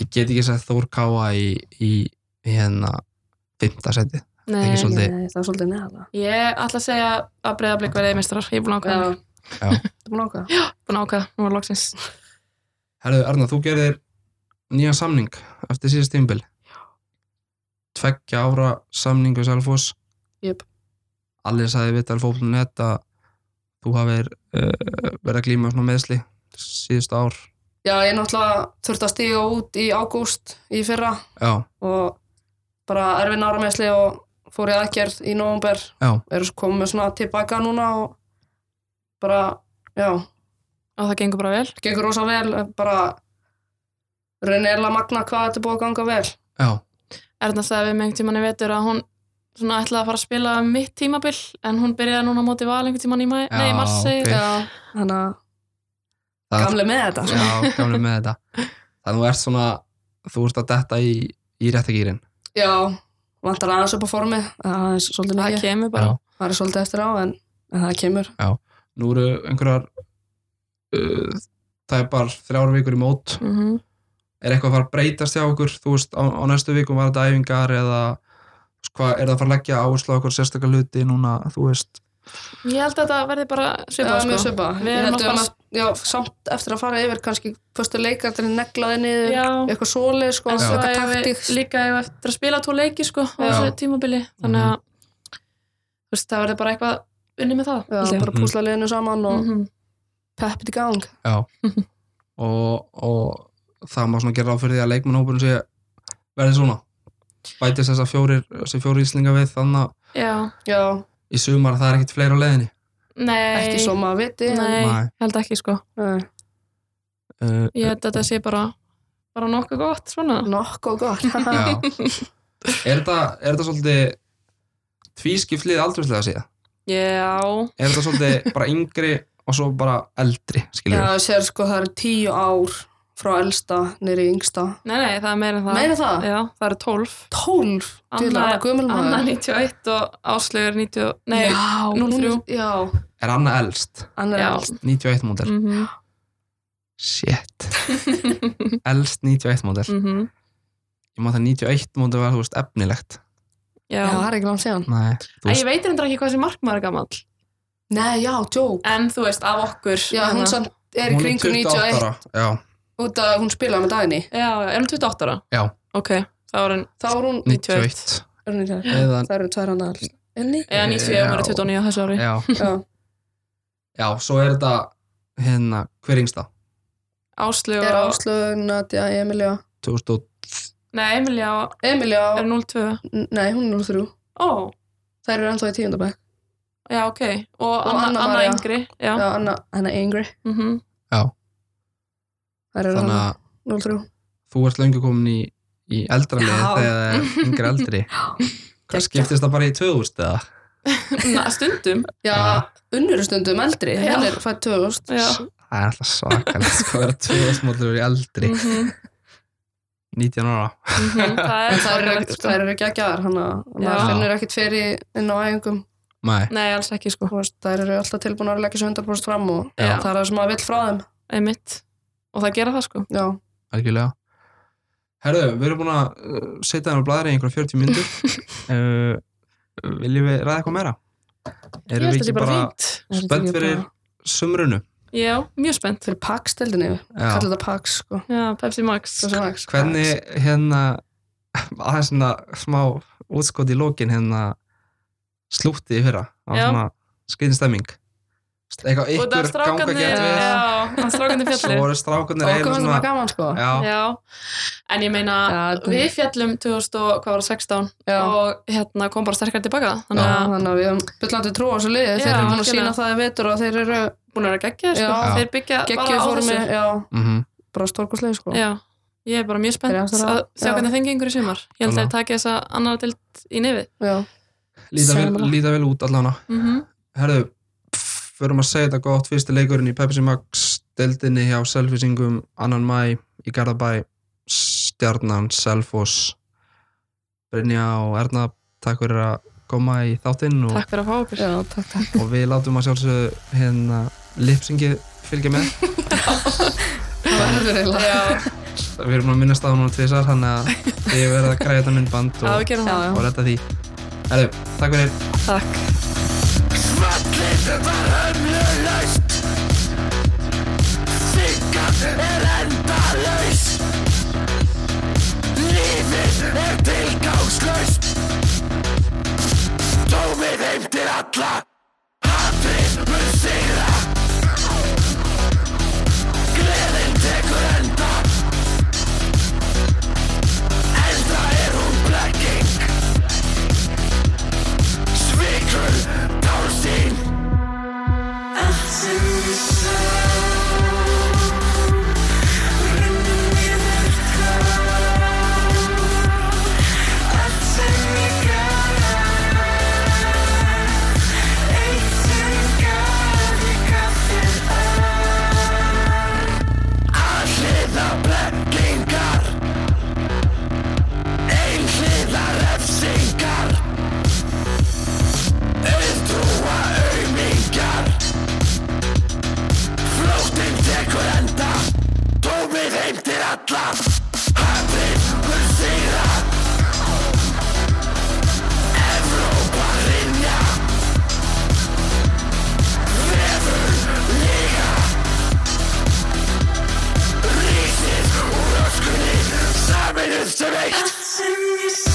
A: ég get ekki sagt Þór Káa í, í hérna fymta seti Ekki
B: Nei,
A: svo- Svolítið.
C: Nei, það er svolítið neðala.
B: ég ætla að segja að breyðablík verið meistrar. Ég er
C: Já.
B: búin að ákvæða.
A: Já.
C: Það er búin ákvað.
B: Búin að ákvæða, nú er loksins.
A: Herðu, Arna, þú gerir nýjan samning eftir síðast tímbil. Tveggja ára samning við Selfoss.
C: Jöp.
A: Allir sagði við talfólunum þetta þú hafið uh, verið að glíma svona meðsli síðust ár.
C: Já, ég náttúrulega þurfti að stíga út í ágúst í fyrra
A: Já,
C: og bara erfin áramessli og fór í aðgerð í nóvumber.
A: já,
C: Eru svo komið svona tilbaka núna og bara, já,
B: Og það gengur bara vel.
C: gengur rosa vel, bara raunilega magna hvað þetta er búið að ganga vel.
A: já,
B: Erna sagði við mig einhvern tíman í vetur að hún svona ætlaði að fara að spila um mitt tímabil en hún byrjaði núna á móti val einhvern tíman í mæ,
A: Já,
B: nei, í mars segi
A: ok.
B: ég.
C: Já, þannig að
A: Það-
C: gamle með þetta.
A: já, gamlega með þetta. Þannig að þú ert svona, þú ert að detta í, í réttagýrin.
C: Já, vantar aðeins upp á formi, það er svolítið
B: það
C: mikið.
B: kemur bara.
C: Það er svolítið eftir á en, en það kemur.
A: Nú eru einhverjar, uh, það er bara þrjár vikur í mót.
B: Mm
A: er eitthvað að fara að breytast hjá okkur þú veist, á, á næstu vikum var þetta æfingar eða þú veist, hvað, er það að fara að leggja áherslu á okkur sérstakar hluti núna, þú veist
B: Ég held að þetta verði bara
C: Já,
B: svipað
C: mjög
B: sko.
C: svipa.
B: Við
C: Við
B: erum að
C: heldum
B: fara-
C: að, já, samt eftir að fara yfir kannski fyrstu leikardin neglaði niður,
B: Já,
C: eitthvað svoleið, sko,
B: en svo
C: eitthvað
B: hefur við
C: taktíks.
B: líka hefur eftir að spila tvo leiki sko á
C: Já.
B: þessu tímabili. Þannig
A: Mhm.
B: að þú veist, það verði bara eitthvað unni með það.
C: Já,
B: held ég.
C: bara púsla liðinu saman og mm.
B: Mhm.
C: peppið í gang.
A: og, og það má svona gera á fyrir því að leikmannhópurinn sé verði svona bætist þessar fjórir, þessi fjóri íslinga við þannig að
B: Já,
C: Já,
A: í sumar það er ekkit fleira á leiðinni
B: nei.
C: ekki svo maður viti. en-
B: Nei,
A: Nei.
B: held ekki sko.
C: Nei.
A: uh,
B: Ég held að þetta sé bara, bara nokkuð gott svona.
C: Nokkuð gott.
A: já er þetta, er þetta svolítið tvískiflið aldurslega síðan
B: Já,
A: er þetta svolítið bara yngri og svo bara eldri,
C: já,
A: skiljum við
C: sér, sko, það eru tíu ár frá elsta nýri yngsta.
B: nei, nei, það er meira en það.
C: Meira það?
B: Já, það eru 12.
C: Tólf.
B: Anna-
C: Til að gömul
B: Anna
C: maður.
B: 91 og Áslaugur 90, nei,
C: já,
B: 03.
C: núna- Já,
A: er annað elst,
C: annar
B: Já.
C: elst.
A: 91 mótel
B: mhm, mhm.
A: Shit Elst 91 módel
B: mhm,
A: Ég má það 91 módel var, þú veist, efnilegt
B: Já,
C: Já, það er ekki langt síðan.
A: Nei, þú
B: Æ, ég
A: veist,
B: veit reyndar ekki hvað þessi markmaður er gamall.
C: Nei, já, djók.
B: En þú veist, af okkur. hérna.
C: Já, hún samt er í
A: hún er
C: kringu
A: 28
C: 91
A: ára Já,
C: út af að hún spilaði með dagni.
B: Já, já, er hún 28 ára?
A: Já.
B: Ok, þá er hún,
C: Þá var hún
A: 91
C: er hún í það.
A: Eða,
C: Það eru tvær hann aðall. Enni?
B: eða 90, hún
A: Eh,
B: er
A: Já.
B: 29 á þessu ári.
A: já,
C: Já.
A: já, svo er þetta hérna, hver yngsta?
B: Áslaugur
C: Er
B: og,
C: Áslög, Nadja, Emilja.
A: 2000 og-
B: nei, Emilia og-
C: Emilja,
B: er 02.
C: nei, hún er nú þrjú.
B: Ó,
C: Þær eru ennþá í tíundabæk.
B: já, ok. Og, Anna,
C: Anna
B: Anna,
C: María.
B: yngri, já.
C: Já, Anna, Anna Ingri.
B: mhm.
C: Þær eru
A: Þannig
C: hann
A: að
C: 03.
A: þú ert löngu komin í, í eldra liði
C: Já.
A: þegar það er yngri eldri Hvað skiptist það bara í 2000 eða?
B: Na, stundum.
C: Já,
A: Já.
C: unnur er stundum eldri.
B: Já.
C: Henn er fætt 2000.
B: Já.
A: Það er alltaf svakalegt sko að vera 2000 módel í eldri
B: Mm
A: 19 ára
C: Mhm,
B: Það er
C: En þær eru,
B: svakalegt, sko.
C: þær eru ekki að gæðar, hann að
B: Já.
C: maður finnur ekkit fyrir inn á æfingum.
A: Nei,
B: Nei, alls ekki sko,
C: Þú veist, Þær eru alltaf tilbúin að leggja sig 100% fram og
B: Já.
C: það er það sem maður vill frá þeim.
B: einmitt og það gera það sko
C: Já,
A: algjörlega Herðu, við erum búin að uh, setja hann á blæðri í einhverja 40 myndur. uh, viljum við ræða eitthvað meira?
B: Ég
A: Erum við
B: held að
A: ekki
B: sé bara
A: bara
B: fínt.
A: spennt fyrir sumrunu?
B: Já, mjög spennt.
C: fyrir Pax-deldinni,
A: Já.
C: kallar þetta Pax sko.
B: Já, Pepsi Max.
C: Svo sem Pax.
A: Hvernig hérna, aðeins svona smá útskot í lókin hérna slútti í fyrra. Það var
B: Já.
A: svona skriðin stemming. Eitthvað
B: Og það er
A: ykkur ganga
B: strákarnir-
A: gett við.
B: Já, það er strákarnir
A: Svo
B: fjallir.
A: voru strákunir
C: Okkur fannst þetta bara gaman sko
A: Já,
B: Já, en ég meina,
C: Já, þetta-
B: við fjallum 2000 og hvað var það, 16
C: Já.
B: og hérna kom bara sterkar tilbaka. Þannig
C: Já,
B: að
C: þannig að við höfum byllandi trú á þessu liði
B: Já,
C: þeir eru búin að
B: algjörlega.
C: sína það í vetur og þeir eru
B: búin að vera geggja, sko.
C: Já.
B: Þeir byggja bara
C: geggjöð
B: á
C: formi
B: þessu.
C: já,
A: mm
C: bara stórkurslega sko
B: Já, ég er bara mjög
C: Þeir eru
B: spennt
C: aftur að-
B: að sjá
C: já.
B: hvernig þeim gengur í sumar. Ég held að
A: Þannig.
B: þeir taki þessa annar dild í nefið.
C: já.
A: líta, vel,
C: Sammála.
A: líta vel út allavega.
B: Mhm.
A: Herðu, pff, förum að segja þetta gott fyrsti leikurinn í Pepsi Max deildinni hjá Selfisingum annan mæ í Garðabæ Stjarnan, Selfoss Brynja og Erna takk fyrir að koma í þáttinn og,
B: Takk fyrir að fá okkur.
C: já, takk, takk
A: og við látum að sjálfsögðu hérna lipsingi fylgja með
C: það var hefur eiginlega
B: Já,
A: við erum að minnast á hún og tvisar þannig að ég verið að græja þetta myndband
B: já, við
A: og,
B: gerum það.
C: Já, já.
A: og retta því Herðu, takk fyrir
B: Takk.
D: Svartlýsi var hömlulaust Sikkað er endalaus Lífið er tilgangslaust Tómið heim til alla Hatrið mun sigra Gleðin tekur enda Enda er hún blekking Svikur tálsinn Allt sem ég sá Runnum niður tá Allt sem ég gaf Eitt sem gaf ég gaf þér að Alliða blekkingar Einhliða refsingar Auðtrúa auðmingar Flóttinn tekur enda Tómið heim til alla Hafið mun sigra Evrópa rinja Vefur líga Rísið úr öskunni Saminuð sem eitt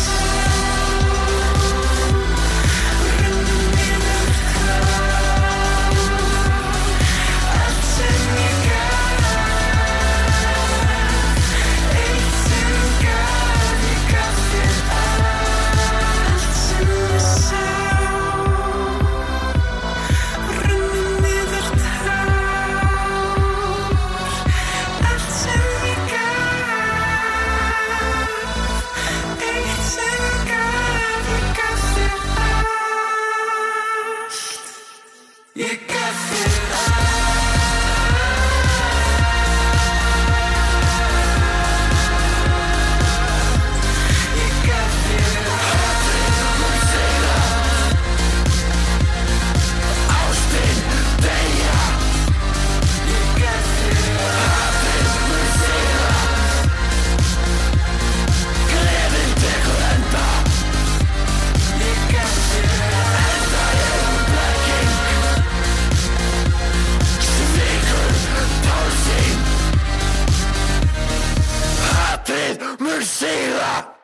D: Ég gaf þér Hatrið mun sigra